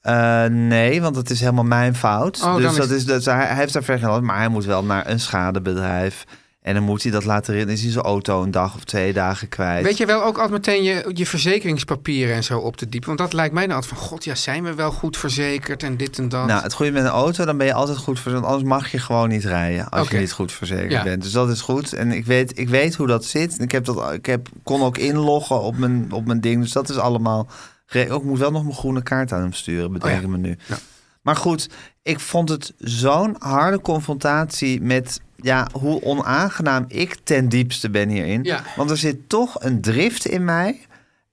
Eh, nee, want het is helemaal mijn fout.
Oh,
dus
dan is-
dat is, dat, hij, hij heeft daar vergenomen, maar hij moet wel naar een schadebedrijf. En dan moet hij dat later in. Is hij zijn auto een dag of twee dagen kwijt?
Weet je wel ook altijd meteen je, je verzekeringspapieren en zo op te diepen? Want dat lijkt mij dan altijd van... God, ja, zijn we wel goed verzekerd en dit en dat.
Nou, het goede met een auto, dan ben je altijd goed verzekerd. Anders mag je gewoon niet rijden als
Oké.
je niet goed verzekerd
Ja.
bent. Dus dat is goed. En ik weet, ik weet hoe dat zit. En Ik, heb dat, ik heb, kon ook inloggen op mijn, op mijn ding. Dus dat is allemaal... ge- Oh, ik moet wel nog mijn groene kaart aan hem sturen, bedenk
Oh ja.
ik me nu.
Ja.
Maar goed, ik vond het zo'n harde confrontatie met ja, hoe onaangenaam ik ten diepste ben hierin.
Ja.
Want er zit toch een drift in mij.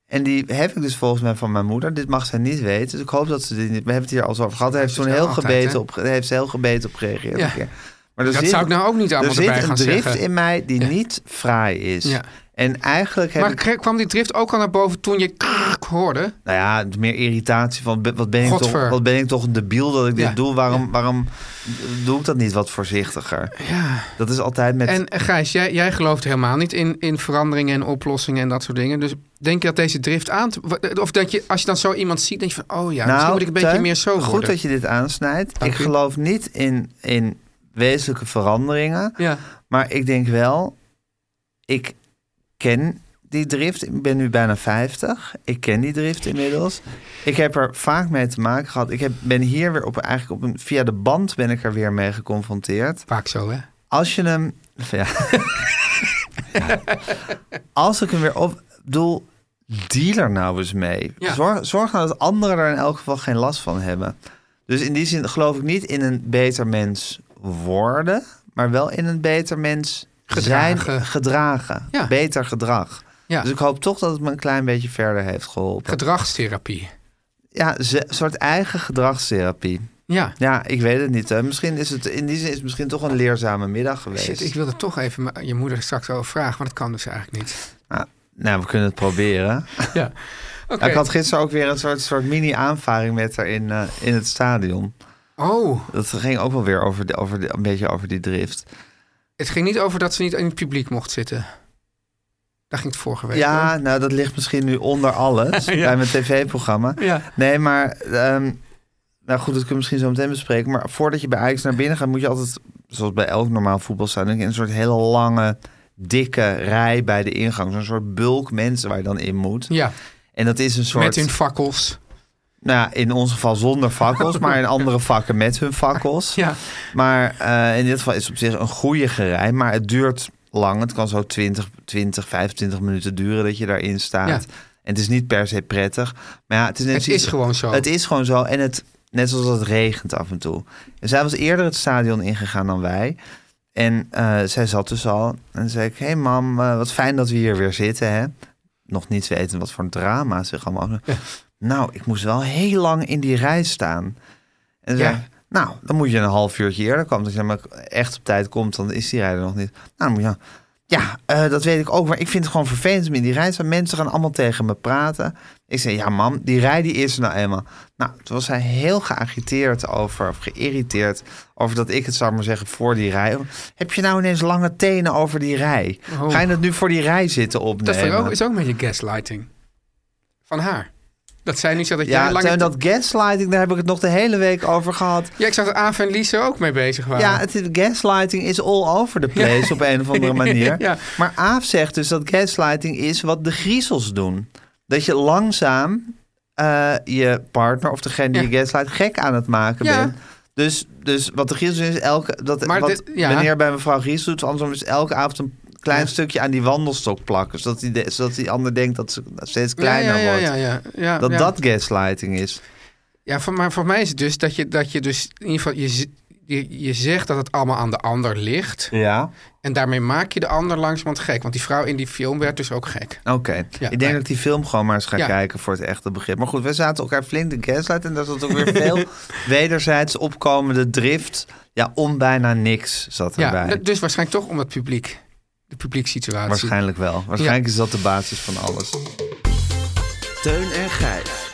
En die heb ik dus volgens mij van mijn moeder. Dit mag zij niet weten. Dus ik hoop dat ze dit niet... We hebben het hier al eens over gehad. Daar heeft ze
Dat
toen
is
heel,
wel altijd,
gebeten
hè?
op, ge- daar heeft ze heel gebeten op gereageerd.
Ja.
een keer. Maar er
Dat zou ik nou ook niet allemaal
Er zit
erbij gaan
een drift
zeggen.
in mij die
Ja.
niet fraai is.
Ja.
En eigenlijk heb
Maar
ik...
kre- kwam die drift ook al naar boven toen je krrrk hoorde?
Nou ja, meer irritatie van be- wat ben ik, toch,
Godver.
wat ben ik toch een debiel dat ik
Ja.
dit doe. Waarom, waarom doe ik dat niet wat voorzichtiger?
Ja.
Dat is altijd met...
En eh, Gijs, jij, jij gelooft helemaal niet in, in veranderingen en oplossingen en dat soort dingen. Dus denk je dat deze drift aan... te- wa- eh, Of denk je, als je dan zo iemand ziet, denk je van... Oh ja, misschien moet ik een beetje
Teun,
meer zo
Nou, Goed
worden.
dat je dit aansnijdt.
Dank
ik
u.
geloof niet in, in wezenlijke veranderingen.
Ja,
Maar ik denk wel, ik ken die drift. Ik ben nu bijna 50. Ik ken die drift inmiddels. Ik heb er vaak mee te maken gehad. Ik heb, ben hier weer op, eigenlijk op een, via de band ben ik er weer mee geconfronteerd.
vaak zo hè.
Als je hem. Ja. Als ik hem weer op. Doel, deal er nou eens mee.
Ja.
Zorg, zorg nou dat anderen er in elk geval geen last van hebben. Dus in die zin geloof ik niet in een beter mens worden, maar wel in een beter mens zijn
Gedragen.
gedragen.
Ja.
Beter gedrag.
Ja.
Dus ik hoop toch dat het me een klein beetje verder heeft geholpen.
Gedragstherapie.
ja, ze- een soort eigen gedragstherapie.
Ja.
Ja, ik weet het niet. hè. Misschien is het in die zin is het misschien toch een leerzame middag geweest.
Shit, ik wilde toch even ma- je moeder straks over vragen, maar dat kan dus eigenlijk niet.
Nou, nou, we kunnen het proberen.
Ja. Oké.
Nou, ik had gisteren ook weer een soort, soort mini-aanvaring met haar in, eh, in het stadion.
Oh,
Dat ging ook wel weer over, de, over de, een beetje over die drift.
het ging niet over dat ze niet in het publiek mocht zitten. Daar ging het vorige week.
Ja, nou dat ligt misschien nu onder alles
Ja.
bij mijn tv-programma.
hoor. Ja.
Nee, maar ehm, nou goed, dat kunnen we misschien zo meteen bespreken. Maar voordat je bij Ajax naar binnen gaat, moet je altijd, zoals bij elk normaal voetbalstadion, in een soort hele lange, dikke rij bij de ingang. Zo'n soort bulk mensen waar je dan in moet.
Ja,
En dat is een soort...
met hun fakkels.
Nou ja, in ons geval zonder fakkels, maar in andere vakken met hun fakkels.
Ja.
Maar eh, in dit geval is het op zich een goede gerij, maar het duurt lang. Het kan zo 20, 20 25 minuten duren dat je daarin staat.
Ja.
En het is niet per se prettig. Maar ja, het is, net
Het
zoiets-
is gewoon zo.
Het is gewoon zo. En het, net zoals het regent af en toe. En zij was eerder het stadion ingegaan dan wij. En eh, zij zat dus al. En zei ik, hé hey mam, eh, wat fijn dat we hier weer zitten. Hè? Nog niet weten wat voor een drama zich allemaal... Nou, ik moest wel heel lang in die rij staan. En ze
Ja.
zei, nou, dan moet je een half uurtje eerder komen. Als je namelijk echt op tijd komt, dan is die rij er nog niet. Nou, dan moet je... Ja, eh, dat weet ik ook. Maar ik vind het gewoon vervelend om in die rij te staan. Mensen gaan allemaal tegen me praten. Ik zei, ja mam, die rij die is er nou eenmaal. Nou, toen was hij heel geagiteerd over, of geïrriteerd... over dat ik het, zou ik maar zeggen, voor die rij... Heb je nou ineens lange tenen over die rij?
Oh.
Ga je dat nu voor die rij zitten
dat
opnemen?
vind ik ook, is ook een beetje gaslighting. Van haar. Dat zij nu zegt dat jij
Ja,
lang...
Teun, dat gaslighting, daar heb ik het nog de hele week over gehad.
Ja, ik zag dat Aaf en Lies er ook mee bezig waren.
Ja, het, is- gaslighting is all over the place op een of andere manier.
Ja.
Maar Aaf zegt dus dat gaslighting is wat de griezels doen. Dat je langzaam eh, je partner of degene die
Ja.
je gaslight gek aan het maken
Ja.
bent. Dus, dus wat de griezels doen is, elke, dat,
Maar
wat
dit- ja.
meneer bij mevrouw Griezels doet, andersom is elke avond een klein
Ja.
stukje aan die wandelstok plakken. Zodat die, de- zodat die ander denkt dat ze steeds kleiner
ja, ja,
wordt.
Ja, ja, ja, ja,
Dat
ja.
dat gaslighting is.
Ja, voor, maar voor mij is het dus dat je, dat je dus... In ieder geval, je, z- je, je zegt dat het allemaal aan de ander ligt.
Ja.
En daarmee maak je de ander langzamerhand gek. Want die vrouw in die film werd dus ook gek.
Oké,
Ja,
ik denk
maar-
dat ik die film gewoon maar eens ga
Ja.
kijken voor het echte begrip. Maar goed, we zaten elkaar flink de gaslight en daar zat ook weer veel wederzijds opkomende drift. Ja, om bijna niks zat
Ja,
erbij.
d- dus waarschijnlijk toch om het publiek. De publieksituatie.
Waarschijnlijk wel. Waarschijnlijk is dat de basis van alles.
Teun en Gijs.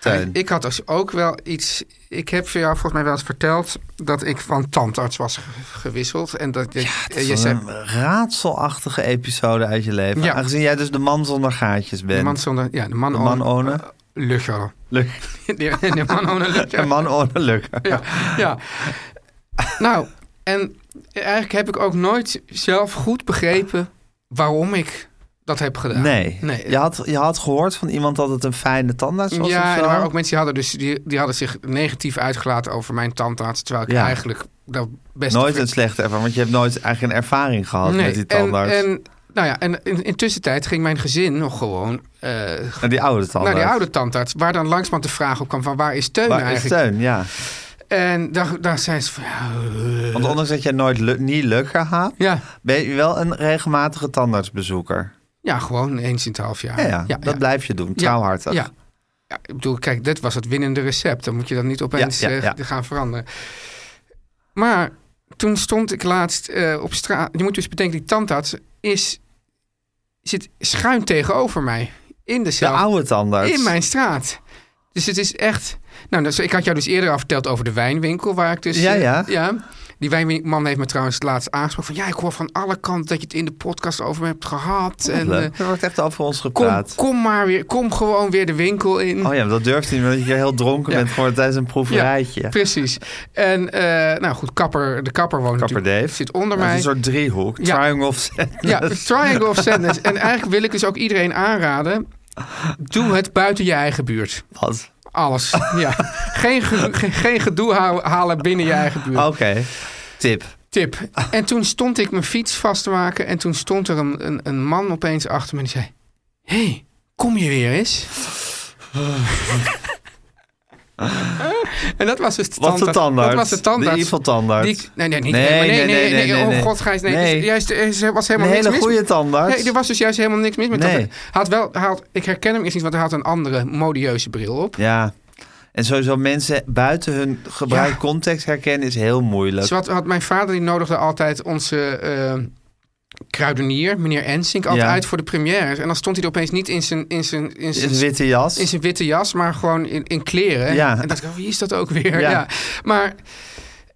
Teun.
Ik had dus ook wel iets... Ik heb voor jou volgens mij wel eens verteld... dat ik van tandarts was ge- gewisseld. En dat je,
Het
je
is
eh, zei...
een raadselachtige episode uit je leven.
Ja.
Aangezien jij dus de man zonder gaatjes
De
bent.
man zonder... Ja, de man,
De man
ohne-
ohne?
eh, Lucho.
Luk-
De, de man ohne Lucho.
De man ohne lukken.
Ja, ja. Nou, en eigenlijk heb ik ook nooit zelf goed begrepen... waarom ik dat heb gedaan.
Nee.
nee.
Je, had, je had gehoord van iemand dat het een fijne tandarts was
Ja,
of
en
zo?
er waren ook mensen die hadden, dus, die, die hadden zich negatief uitgelaten over mijn tandarts. Terwijl ik
Ja.
eigenlijk dat best...
Nooit een slechte ervaring, want je hebt nooit eigenlijk een ervaring gehad
Nee,
met die tandarts.
En, en, nou ja, en in, intussen tijd ging mijn gezin nog gewoon eh,
Naar die oude tandarts.
Nou, naar die oude tandarts. Waar dan langzamerhand de vraag op kwam van waar is Teun
Waar is
eigenlijk?
Teun, ja.
En daar, daar zijn ze van... ja,
Want ondanks dat jij nooit lu- niet lukker gaat,
Ja,
ben je wel een regelmatige tandartsbezoeker.
ja gewoon eens in het half jaar.
Ja, ja, dat
ja.
blijf je doen,
Ja,
trouwhartig.
Ja. ja, ik bedoel, kijk, dit was het winnende recept. Dan moet je dat niet opeens
Ja, ja,
eh,
ja.
gaan veranderen. Maar toen stond ik laatst eh, op straat. Je moet dus bedenken, die tandarts is, zit schuin tegenover mij. In de
De
cel.
oude tandarts.
In mijn straat. Dus het is echt... Nou, dus ik had jou dus eerder al verteld over de wijnwinkel waar ik dus...
Ja,
eh,
ja.
Die wijnwinkelman heeft me trouwens laatst aangesproken van... Ja, ik hoor van alle kanten dat je het in de podcast over me hebt gehad. En,
Leuk.
eh,
er wordt echt over ons
kom,
gepraat.
kom maar weer, kom gewoon weer de winkel in.
Oh ja, maar dat durft hij niet, omdat je heel dronken
Ja.
bent geworden tijdens een proeverijtje.
Precies. En eh, nou goed, kapper, de kapper woont
Kapper
natuurlijk-
Dave.
zit onder
Dat is
mij.
een soort driehoek,
Ja.
triangle of sadness.
Ja, de triangle of sadness. En eigenlijk wil ik dus ook iedereen aanraden... Doe het buiten je eigen buurt.
Wat?
Alles. Ja. Geen, ge- ge- geen gedoe hou- halen binnen je eigen buurt.
Oké, tip.
Tip. En toen stond ik mijn fiets vast te maken. En toen stond er een, een, een man opeens achter me. En die zei: Hé, hey, kom je weer eens? en dat was dus de
Wat
tandarts.
de tandarts?
Dat was de tandarts.
De evil tandarts.
Die ik- nee, nee, niet,
Nee,
nee, nee,
nee,
nee,
nee,
nee,
nee, nee, nee.
Oh, god, Gijs, nee.
Nee.
Dus Juist, er was
Een
helemaal niks
hele
mis.
goede tandarts.
Nee, er was dus juist helemaal niks mis met
Nee.
dat. Hij Had wel, hij had, ik herken hem eerst niet, want hij had een andere modieuze bril op.
Ja. En sowieso mensen buiten hun gebruik
Ja.
context herkennen is heel moeilijk.
Dus wat had mijn vader, die nodigde altijd onze eh, kruidenier, meneer Ensink, altijd
Ja.
uit voor de première. En dan stond hij er opeens niet in zijn, in zijn, in
Is een
zijn,
witte jas.
in zijn witte jas, maar gewoon in, in kleren.
Ja.
En dacht ik, oh, wie is dat ook weer?
Ja.
Ja. Maar,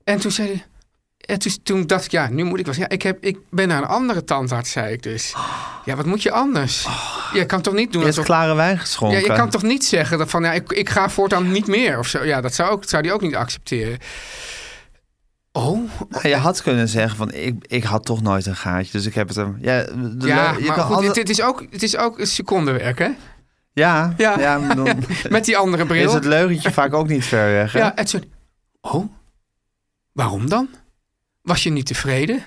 en toen zei hij... En toen, toen dacht ik, ja, nu moet ik wel. Ja, ik, heb, ik ben naar een andere tandarts, zei ik dus. Ja, wat moet je anders? Je kan toch niet doen
Oh. Je hebt
alsof...
klare wijn
Ja,
geschonken.
je kan toch niet zeggen dat van ja, ik, ik ga voortaan niet meer of zo. Ja, dat zou, ook, zou die ook niet accepteren. Oh,
Nou, je had kunnen zeggen van, ik, ik had toch nooit een gaatje, dus ik heb het hem. Ja, de
ja,
le- je
maar
kan
goed,
alle-
het, het is ook, het is ook een secondewerk, hè?
Ja, ja.
Ja.
maar dan
Met die andere bril.
is het leugentje vaak ook niet ver weg. hè?
ja, het soort, oh, waarom dan? Was je niet tevreden?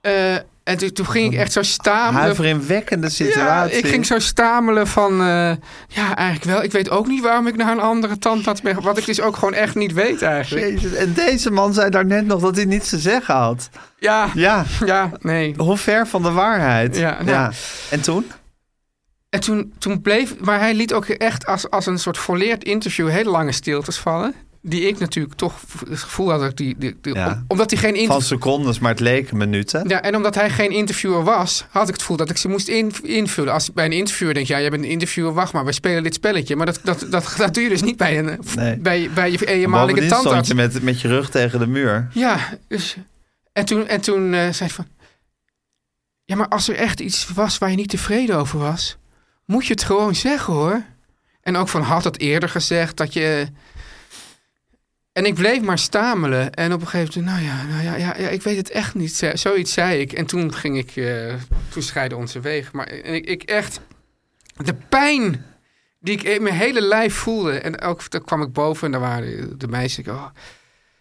Eh, en toen, toen ging ik echt zo stamelen.
Huiveringwekkende
Ja,
situatie.
ik ging zo stamelen van, eh, ja, eigenlijk wel. Ik weet ook niet waarom ik naar een andere tandarts ben. ge- Wat ik dus ook gewoon echt niet weet eigenlijk.
Jezus, en deze man zei daarnet nog dat hij niets te zeggen had.
Ja,
Ja,
ja, nee.
hoe ver van de waarheid.
Ja, nou.
En toen?
En toen, toen bleef... Maar hij liet ook echt als, als een soort volleerd interview hele lange stiltes vallen. Die ik natuurlijk toch v- het gevoel had dat ik die... die, die-
Ja.
om- omdat hij geen
Van
interview...
secondes, maar het leken minuten.
Ja, en omdat hij geen interviewer was, had ik het gevoel dat ik ze moest in- invullen. Als bij een interviewer denk je, ja, jij bent een interviewer, wacht maar, we spelen dit spelletje. Maar dat, dat, dat, dat doe je dus niet bij, een,
Nee.
bij, bij je eenmalige
Bovendien stond
tandarts.
je met, met je rug tegen de muur.
Ja, dus, en toen, en toen eh, zei hij van... Ja, maar als er echt iets was waar je niet tevreden over was... moet je het gewoon zeggen, hoor. En ook van, had het eerder gezegd dat je... En ik bleef maar stamelen. En op een gegeven moment, nou ja, nou ja, ja, ja ik weet het echt niet. Ze- Zoiets zei ik. En toen ging ik, eh toen scheiden onze wegen. Maar en ik, ik echt, de pijn die ik in mijn hele lijf voelde. En ook, daar kwam ik boven en daar waren de meisjes. Ik, oh,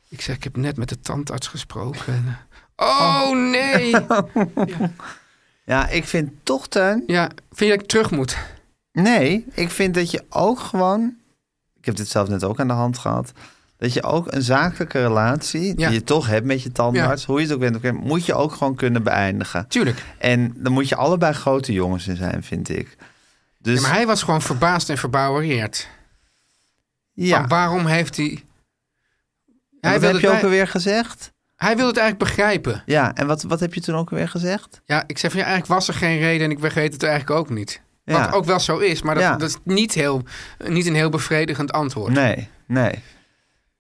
ik zeg, ik heb net met de tandarts gesproken. En, eh, Oh nee!
Ja, ik vind toch, Teun...
Ja, vind je dat ik terug moet?
Nee, ik vind dat je ook gewoon... Ik heb dit zelf net ook aan de hand gehad. Dat je ook een zakelijke relatie,
Ja.
die je toch hebt met je tandarts... hoe je het ook bent, oké, moet je ook gewoon kunnen beëindigen.
Tuurlijk.
En dan moet je allebei grote jongens in zijn, vind ik. Dus
Ja, maar hij was gewoon verbaasd en verbouwereerd.
ja.
Maar waarom heeft hij...
En
Hij
wat
wilde,
heb
het,
je ook
bij-
alweer gezegd?
hij wilde het eigenlijk begrijpen.
Ja, en wat, wat heb je toen ook alweer gezegd?
Ja, ik zeg van ja, eigenlijk was er geen reden en ik begreep het eigenlijk ook niet.
Ja.
Wat ook wel zo is, maar dat,
Ja.
dat is niet, heel, niet een heel bevredigend antwoord.
Nee, nee.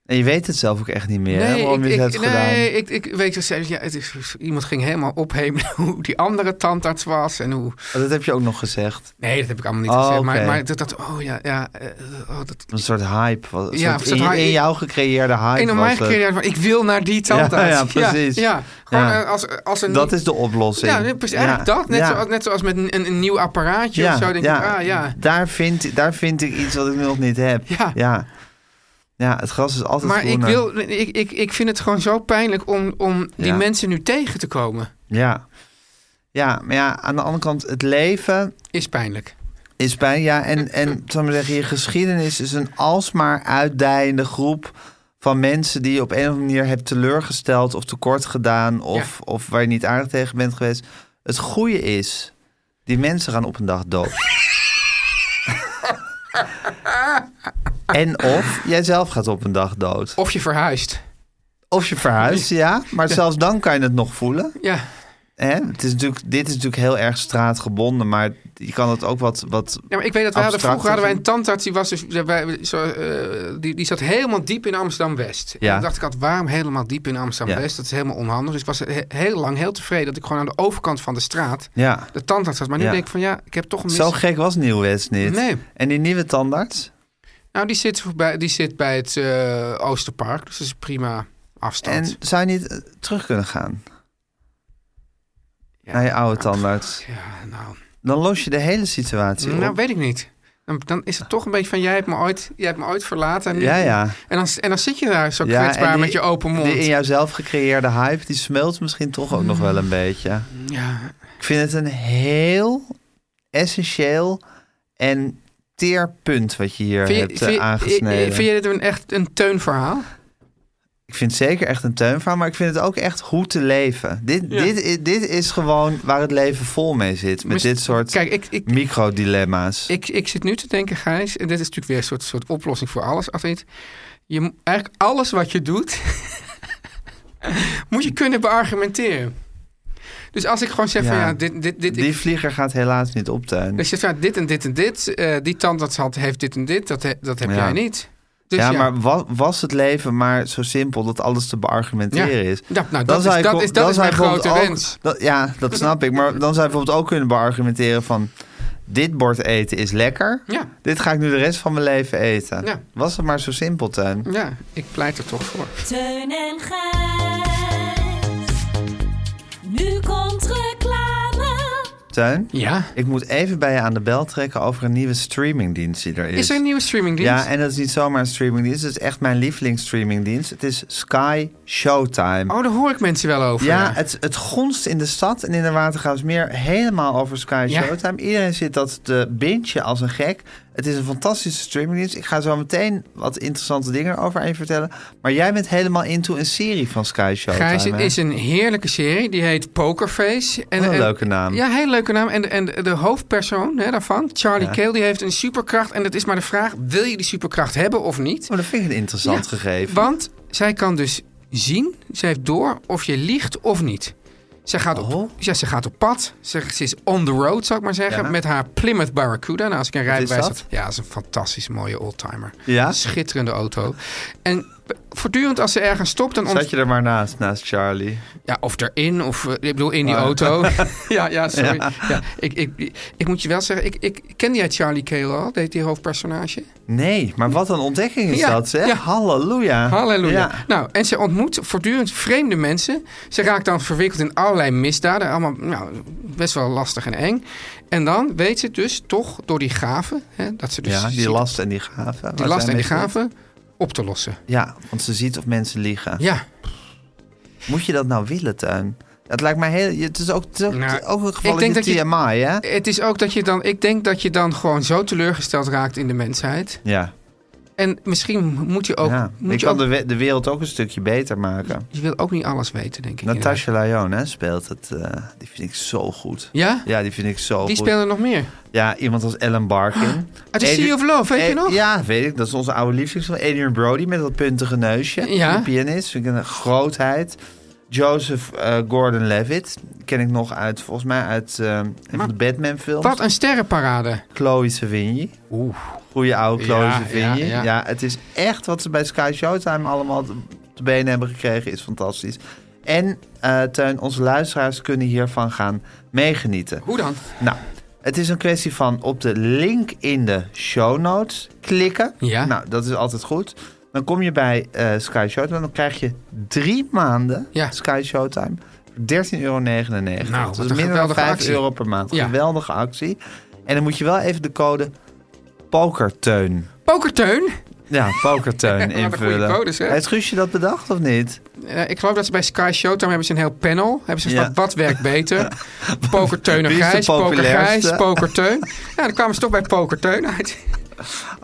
En je weet het zelf ook echt niet meer, hè, waarom je
ik,
het
ik,
hebt
nee,
gedaan.
ik, ik weet je, zei, ja, het is, iemand ging helemaal ophemelen hoe die andere tandarts was en hoe...
Maar Dat heb je ook nog gezegd.
Nee, dat heb ik allemaal niet
Oh,
gezegd.
oké.
Maar, maar dat, dat, oh ja, ja, eh, oh, dat,
Een soort hype. wat- Een
Ja,
soort
een soort
in,
hype.
in jou gecreëerde hype.
een om
was
mij
het.
gekregen van ik wil naar die tandarts.
Ja, ja, precies.
Ja, Gewoon
Ja.
eh, Als, als een...
Dat is de oplossing.
ja, precies, eigenlijk
Ja,
dat. Net,
ja.
zoals, net zoals met een, een, een nieuw apparaatje of zo. Denk ik, ah ja.
Daar, vind, daar vind ik iets wat ik nog niet heb.
Ja.
ja. Ja, het gras is altijd
Maar ik,
groener.
wil, ik, ik, ik vind het gewoon zo pijnlijk om, om die
Ja.
mensen nu tegen te komen.
Ja. ja, maar ja, aan de andere kant, het leven
Is pijnlijk.
is pijn. Ja, en, en zal ik maar zeggen, je geschiedenis is een alsmaar uitdijende groep van mensen die je op een of andere manier hebt teleurgesteld of tekort gedaan of, of waar je niet aardig tegen bent geweest. Het goede is, die mensen gaan op een dag dood. en of jijzelf gaat op een dag dood.
Of je verhuist.
Of je verhuist, ja. Maar zelfs dan kan je het nog voelen.
Ja.
Hè? Het is natuurlijk, dit is natuurlijk heel erg straatgebonden, maar je kan het ook wat... wat
Ja, maar ik weet dat wij
Abstract
hadden, vroeger hadden wij
gezien.
een tandarts, die, was dus, ja, wij- zo, eh, die, die zat helemaal diep in Amsterdam-West. En
Ja.
toen dacht ik altijd, waarom helemaal diep in Amsterdam-West?
Ja.
Dat is helemaal onhandig. Dus ik was he- heel lang heel tevreden dat ik gewoon aan de overkant van de straat
ja.
de tandarts had. Maar nu
Ja.
denk ik van, ja, ik heb toch een mis...
Zo gek was Nieuw West niet.
Nee.
En die nieuwe tandarts?
Nou, die zit, bij, die zit bij het eh, Oosterpark, dus dat is een prima afstand.
En zou je niet eh, terug kunnen gaan
Ja.
naar je oude tandarts?
Ja, nou,
Dan los je de hele situatie
nou
op.
weet ik niet. Dan, dan is het toch een beetje van, jij hebt me ooit, jij hebt me ooit verlaten. En, nu-
Ja, ja.
En, dan, en dan zit je daar zo
ja
kwetsbaar
en die-
met je open mond.
Die in jouzelf gecreëerde hype, die smelt misschien toch ook nog wel een beetje.
Ja,
Ik vind het een heel essentieel en teer punt wat je hier
Vind je,
hebt eh,
vind, je-
aangesneden.
vind je dit een echt een teunverhaal?
Ik vind het zeker echt een tuinverhaal, maar ik vind het ook echt hoe te leven. Dit, dit, i- dit is gewoon waar het leven vol mee zit. Met
Mis-
dit soort
Kijk, ik, ik,
microdilemma's.
ik, ik zit nu te denken, Gijs, en dit is natuurlijk weer een soort, soort oplossing voor alles, Afrit. Je, mo- eigenlijk alles wat je doet, moet je kunnen beargumenteren. Dus als ik gewoon zeg van
Ja.
ja, dit, dit, dit, ik-
Die vlieger gaat helaas niet optuinen.
dus je zegt van, dit en dit en dit, eh, die tandarts had, heeft dit en dit, dat, he- dat heb
Ja.
jij niet. Dus
ja, maar wa- was het leven maar zo simpel dat alles te beargumenteren
Ja.
is?
Ja, nou, dat is-
zou je
dat
kon-
is- dat
dan
is
zou je
mijn grote
bijvoorbeeld ook-
wens.
dat- ja, dat snap ik. Maar dan zou je bijvoorbeeld ook kunnen beargumenteren van... dit bord eten is lekker.
Ja.
Dit ga ik nu de rest van mijn leven eten.
Ja.
Was het maar zo simpel, Teun.
Ja, ik pleit er toch voor.
Teun en Gijs. Nu komt reclame.
Teun,
Ja.
ik moet even bij je aan de bel trekken... over een nieuwe streamingdienst die er is.
Is er een nieuwe streamingdienst?
Ja, en dat is niet zomaar een streamingdienst. Het is echt mijn lievelingsstreamingdienst. Het is Sky Showtime.
Oh, daar hoor ik mensen wel over.
Ja, het, het gonst in de stad en in de Watergraafsmeer helemaal over Sky
Ja.
Showtime. Iedereen zit dat te bingen als een gek. Het is een fantastische streamingdienst. Ik ga zo meteen wat interessante dingen over aan je vertellen. Maar jij bent helemaal into een serie van Sky Showtime.
Gijs, het
hè?
is een heerlijke serie. Die heet Pokerface. En,
Wat een
en-
leuke naam.
Ja, heel leuke naam. En, en de hoofdpersoon hè, daarvan, Charlie
Ja.
Cale, die heeft een superkracht. En het is maar de vraag, wil je die superkracht hebben of niet?
Oh, dat vind ik een interessant
Ja,
gegeven.
Want zij kan dus zien, zij heeft door of je liegt of niet. Zij gaat, op,
Oh.
ja, ze gaat op pad. Ze, ze is on the road, zou ik maar zeggen.
Ja.
Met haar Plymouth Barracuda. Nou, als ik een rijbewijs
dat?
had. Ja, dat is een fantastisch mooie oldtimer.
Ja?
Schitterende auto. En voortdurend als ze ergens stopt, dan ont-
Zat je er maar naast, naast Charlie?
ja, of erin, of eh, ik bedoel in die
Oh.
auto. ja, ja, sorry. Ja. ik, ik, ik moet je wel zeggen, ik, ik ken jij Charlie Cale al, deed die hoofdpersonage?
Nee, maar wat een ontdekking is
Ja,
dat, zeg.
ja.
Halleluja.
Halleluja.
Ja.
Nou, en ze ontmoet voortdurend vreemde mensen. Ze raakt dan verwikkeld in allerlei misdaden. Allemaal nou, best wel lastig en eng. En dan weet ze dus toch door die gaven, hè, dat ze dus
Ja, die
ziet-
last en die gaven. Waar
die
zijn
last en die
mensen-
gaven op te lossen.
Ja, want ze ziet of mensen liegen.
Ja,
Moet je dat nou willen, Tuin? Het lijkt mij heel... Het is ook, het is ook,
Nou,
het is ook een
ik
geval
denk
in de
dat je-
TMI, hè?
het is ook dat je dan, ik denk dat je dan gewoon zo teleurgesteld raakt in de mensheid.
Ja.
En misschien moet je ook,
ja.
moet
ik
je
kan
ook
de, we- de wereld ook een stukje beter maken.
Je wil ook niet alles weten, denk ik.
Natasha Lyon hè, speelt het. eh, die vind ik zo goed.
Ja?
Ja, die vind ik zo
Die
goed.
speelde nog meer.
Ja, iemand als Ellen Barkin. Eh,
Uit de Ah, oh, Sea of Love, weet je nog?
Ja, weet ik. Dat is onze oude lievelingsfilm. Adrian Brody met dat puntige neusje.
Ja.
De pianist. Vind ik een grootheid. Joseph eh, Gordon-Levitt. Ken ik nog uit, volgens mij, uit eh, een van de Batman-films.
Wat een sterrenparade.
Chloe Sevigny. Oeh. Goeie oude Chloe
Ja,
Sevigny. Ja,
ja, ja.
het is echt wat ze bij Sky Showtime allemaal te- te benen hebben gekregen. Is fantastisch. En eh Teun, onze luisteraars kunnen hiervan gaan meegenieten.
Hoe dan?
Nou, het is een kwestie van op de link in de show notes klikken.
Ja.
Nou, dat is altijd goed. Dan kom je bij eh, Sky Showtime. Dan krijg je drie maanden
Ja.
Sky Showtime. 13,99 euro.
Nou,
dat is
wat een
minder dan
geweldige
5
actie.
euro per maand.
Ja.
Geweldige actie. En dan moet je wel even de code POKERTEUN.
Pokerteun?
Ja, POKERTEUN
Wat een goede
invullen.
codes, hè?
Heeft Guusje dat bedacht of niet?
Eh, ik geloof dat ze bij Sky Showtime hebben ze een heel panel. Hebben ze
Ja.
van wat werkt beter? Pokerteun en
Wie is de
Gijs, Poker Gijs,
populairste?
Pokerteun. Ja, dan kwamen ze toch bij Pokerteun uit.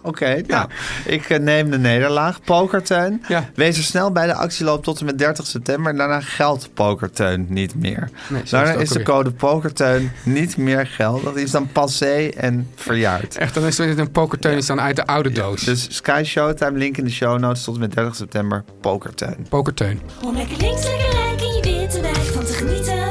Oké, nou, ik eh, neem de nederlaag. Pokerteun.
Ja.
Wees er snel bij de actieloop tot en met 30 september. Daarna geldt Pokerteun niet meer.
Nee, zo is
Daarna
het ook
is de
alweer.
code Pokerteun niet meer geldig. Die is dan passé en verjaard.
Echt, dan is het een pokerteun is dan uit de oude doos.
Dus Sky Showtime, link in de show notes tot en met 30 september. Pokerteun.
Pokerteun.
Om lekker links, lekker rijk in je witte wijk van te genieten.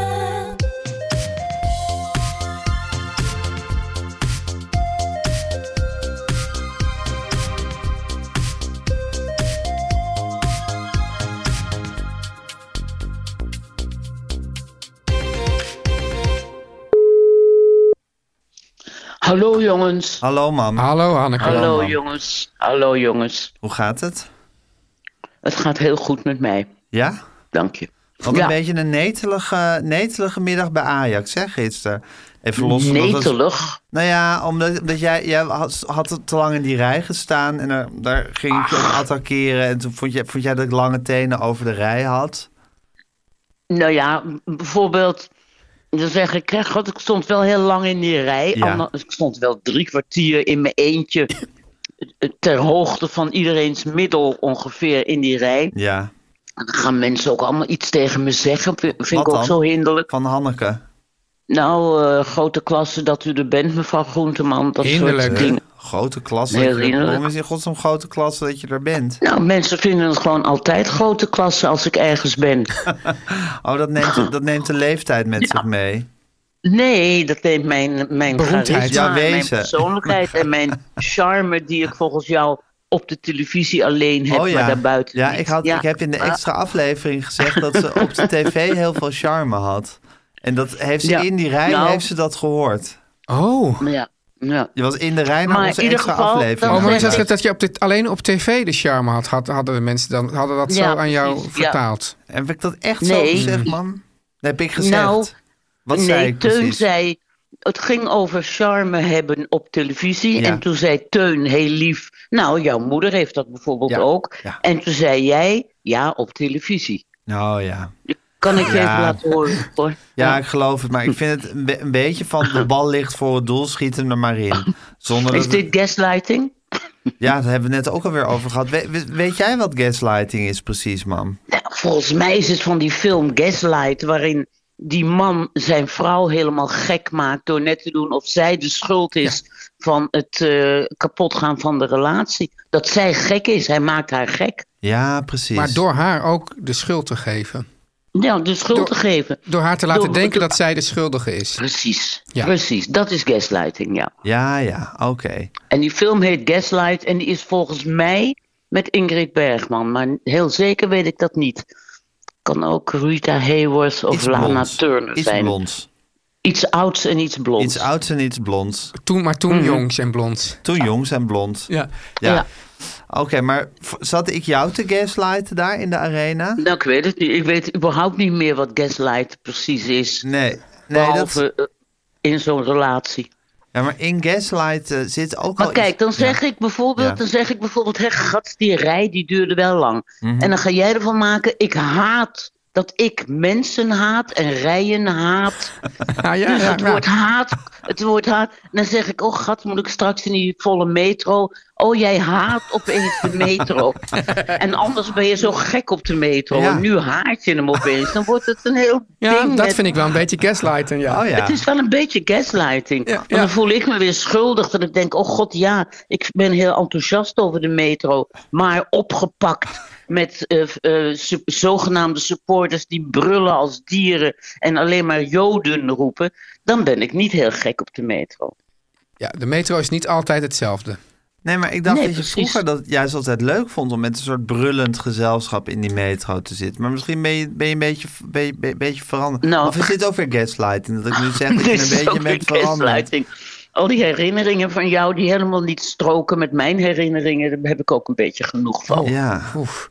Hallo jongens.
Hallo mam,
Hallo Hanneke.
Hallo
man.
jongens. Hallo jongens.
hoe gaat het?
Het gaat heel goed met mij.
Ja?
Dank je.
Wat
ja,
een beetje een netelige, netelige middag bij Ajax, hè, gisteren. Even los van dat het-
netelig.
Nou ja, omdat, omdat jij, jij had, had te lang in die rij gestaan en er, daar ging ik je op attackeren. En toen vond, je, vond jij dat ik lange tenen over de rij had.
Nou ja, bijvoorbeeld, dan zeg ik, hè, god, ik stond wel heel lang in die rij.
Ja.
Ander- ik stond wel drie kwartier in mijn eentje. Ter hoogte van iedereens middel ongeveer in die rij.
Ja,
En Dan gaan mensen ook allemaal iets tegen me zeggen. Vind, vind
Wat
ik ook
dan?
zo hinderlijk.
van Hanneke.
Nou, eh, grote klasse dat u er bent, mevrouw Groenteman. Dat
Hinderlijk.
soort dingen.
Grote klasse.
Heel
dat je-
eerlijk.
Waarom is in godsnaam grote klasse dat je er bent?
Nou, mensen vinden het gewoon altijd grote klasse als ik ergens ben.
Oh, dat neemt, dat neemt de leeftijd met zich mee.
Nee, dat neemt mijn, mijn
Beroemdheid.
charisma,
Ja,
mijn
wezen.
persoonlijkheid en mijn charme die ik volgens jou op de televisie alleen heb,
oh
maar
ja.
daarbuiten
Ja,
niet.
ik, had, ik heb in de
Ah,
extra aflevering gezegd dat ze op de tv heel veel charme had. En dat heeft ze
Ja.
in die rij
Nou.
heeft ze dat gehoord.
Oh.
Ja, ja.
Je was in de rij naar
Maar in
onze
ieder
extra
geval,
aflevering.
dan-
Oh, maar is
geluisterd.
dat, dat je op dit, alleen op tv de charme had, had hadden de mensen dan, hadden dat
Ja,
zo aan jou
precies, ja.
vertaald?
Heb ik dat echt zo
Nee.
gezegd, man? Dat heb ik gezegd.
Nou,
Wat
nee,
zei ik
Teun
precies?
zei, het ging over charme hebben op televisie.
Ja.
En toen zei Teun heel lief, nou, jouw moeder heeft dat bijvoorbeeld
Ja,
ook.
ja.
En toen zei jij, ja, op televisie.
Nou ja.
Kan ik je
Ja.
even laten horen, hoor.
Ja, ik geloof het. Maar ik vind het een, be- een beetje van de bal ligt voor het doel, schiet hem er maar in. Zonder
Is
dat-
dit gaslighting?
Ja, daar hebben we net ook alweer over gehad. We- we- weet jij wat gaslighting is precies, mam?
Nou, volgens mij is het van die film Gaslight, waarin die man zijn vrouw helemaal gek maakt door net te doen of zij de schuld is van het eh, kapotgaan van de relatie. Dat zij gek is, hij maakt haar gek.
Ja, precies.
Maar door haar ook de schuld te geven.
Ja, de schuld
Door-
te geven.
Door haar te laten
Door-
denken
door-
dat zij de schuldige is.
Precies,
Ja.
precies. Dat is gaslighting, ja.
Ja, ja, oké.
En die film heet Gaslight en die is volgens mij met Ingrid Bergman, maar heel zeker weet ik dat niet. Kan ook Rita Hayworth of
Iets
Lana
blonds.
Turner
Iets
zijn.
blonds.
Iets ouds en iets blonds.
Iets ouds en iets blonds.
Toen, maar toen jongs en blond.
Toen jongs en blond.
Mhm. Ja.
Ja.
Ja.
Oké, maar v- zat ik jou te gaslighten daar in de arena?
Nou, ik weet het niet. Ik weet überhaupt niet meer wat gaslight precies is.
Nee. Nee,
behalve
dat...
eh, in zo'n relatie.
Ja, maar in gaslight eh, zit ook
Maar
al
kijk,
iets-
dan
Ja.
zeg ik bijvoorbeeld,
Ja.
dan zeg ik bijvoorbeeld, hè, gat, die rij die duurde wel lang.
Mhm.
En dan ga jij ervan maken, ik haat dat ik mensen haat en rijen haat.
Ja, ja,
Dus
ja,
het woord haat, het woord haat. En dan zeg ik, oh gat, moet ik straks in die volle metro. Oh, jij haat opeens de metro. en anders ben je zo gek op de metro.
Ja.
En nu haat je hem opeens. Dan wordt het een heel
Ja,
ding
dat
met-
vind ik wel een beetje gaslighten, ja.
Oh ja.
Het is wel een beetje gaslighting.
Ja,
Want
ja.
dan voel ik me weer schuldig. Dat ik denk, oh god ja, ik ben heel enthousiast over de metro. Maar opgepakt met eh, eh, su- zogenaamde supporters die brullen als dieren. En alleen maar joden roepen. Dan ben ik niet heel gek op de metro.
Ja, de metro is niet altijd hetzelfde.
Nee, maar ik dacht
Nee,
dat je
precies.
vroeger dat juist altijd leuk vond om met een soort brullend gezelschap in die metro te zitten. Maar misschien ben je, ben je een beetje, ben je, ben je een beetje veranderd.
Nou.
Of is dit ook weer gaslighting? Dat ik nu zeg dat je
Dit
een
is
beetje
Dus ook
bent
weer
veranderd.
gaslighting. Al die herinneringen van jou die helemaal niet stroken met mijn herinneringen, daar heb ik ook een beetje genoeg van.
Ja.
Oef.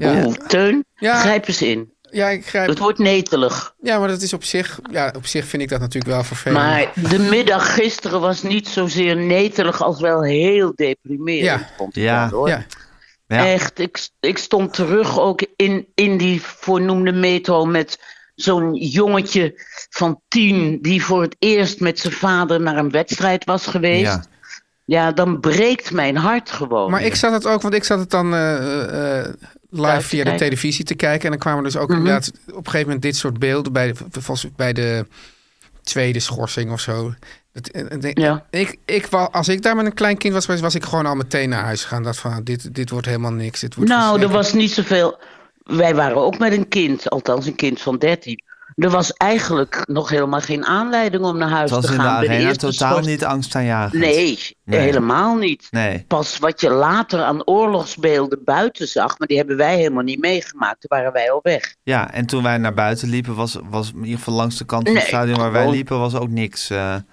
Oeh, Teun,
Ja.
grijp eens in.
Ja, ik
Het
grijp.
wordt netelig.
Ja, maar dat is op zich... Ja, op zich vind ik dat natuurlijk wel vervelend.
Maar de middag gisteren was niet zozeer netelig als wel heel deprimerend.
Ja.
Vond ik
Ja.
wel, hoor.
Ja.
Ja.
Echt, ik, ik stond terug ook in, in die voornoemde metro met zo'n jongetje van tien die voor het eerst met zijn vader naar een wedstrijd was geweest.
Ja.
Ja. Ja, dan breekt mijn hart gewoon.
Maar ik zat het ook, want ik zat het dan eh, eh, live
te
via de
kijken.
televisie te kijken. En dan kwamen dus ook inderdaad op een gegeven moment dit soort beelden bij de, volgens- bij de tweede schorsing of zo. Dat- en- en-
Ja.
ik, ik, wa- als ik daar met een klein kind was geweest, was ik gewoon al meteen naar huis gegaan. Dat van, dit, dit wordt helemaal niks. Dit wordt
Nou, er
verschrikkelijk.
was niet zoveel. Wij waren ook met een kind, althans een kind van 13. Er was eigenlijk nog helemaal geen aanleiding om naar
Het
huis
was
te
in de
gaan. Bij de
arena
eerste
totaal
schors-
niet angstaanjagend.
Nee, eh,
Nee.
helemaal niet.
Nee.
Pas wat je later aan oorlogsbeelden buiten zag, maar die hebben wij helemaal niet meegemaakt. Toen waren wij al weg.
Ja, en toen wij naar buiten liepen, was, was in ieder geval langs de kant van het
Nee,
stadion waar wij
gewoon-
liepen, was ook niks. eh,
Een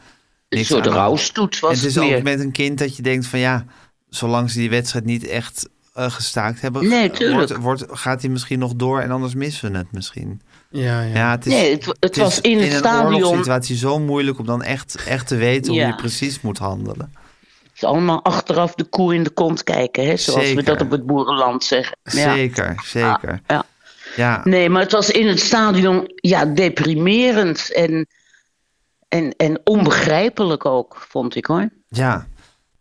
niks
soort
aan de hand.
rouwstoet was
En het is
meer.
ook met een kind dat je denkt van ja, zolang ze die wedstrijd niet echt eh, gestaakt hebben,
Nee,
eh,
tuurlijk.
wordt, wordt, gaat die misschien nog door en anders missen we het misschien.
Ja, ja.
Ja, het is,
Nee, het, het
is
was in het
een
stadion.
oorlogssituatie zo moeilijk om dan echt, echt te weten
Ja.
hoe je precies moet handelen.
Het is allemaal achteraf de koe in de kont kijken, hè, zoals
Zeker.
we dat op het boerenland zeggen. Ja.
Zeker, zeker.
Ja.
Ja,
Nee, maar het was in het stadion ja, deprimerend en, en, en onbegrijpelijk ook, vond ik hoor.
ja.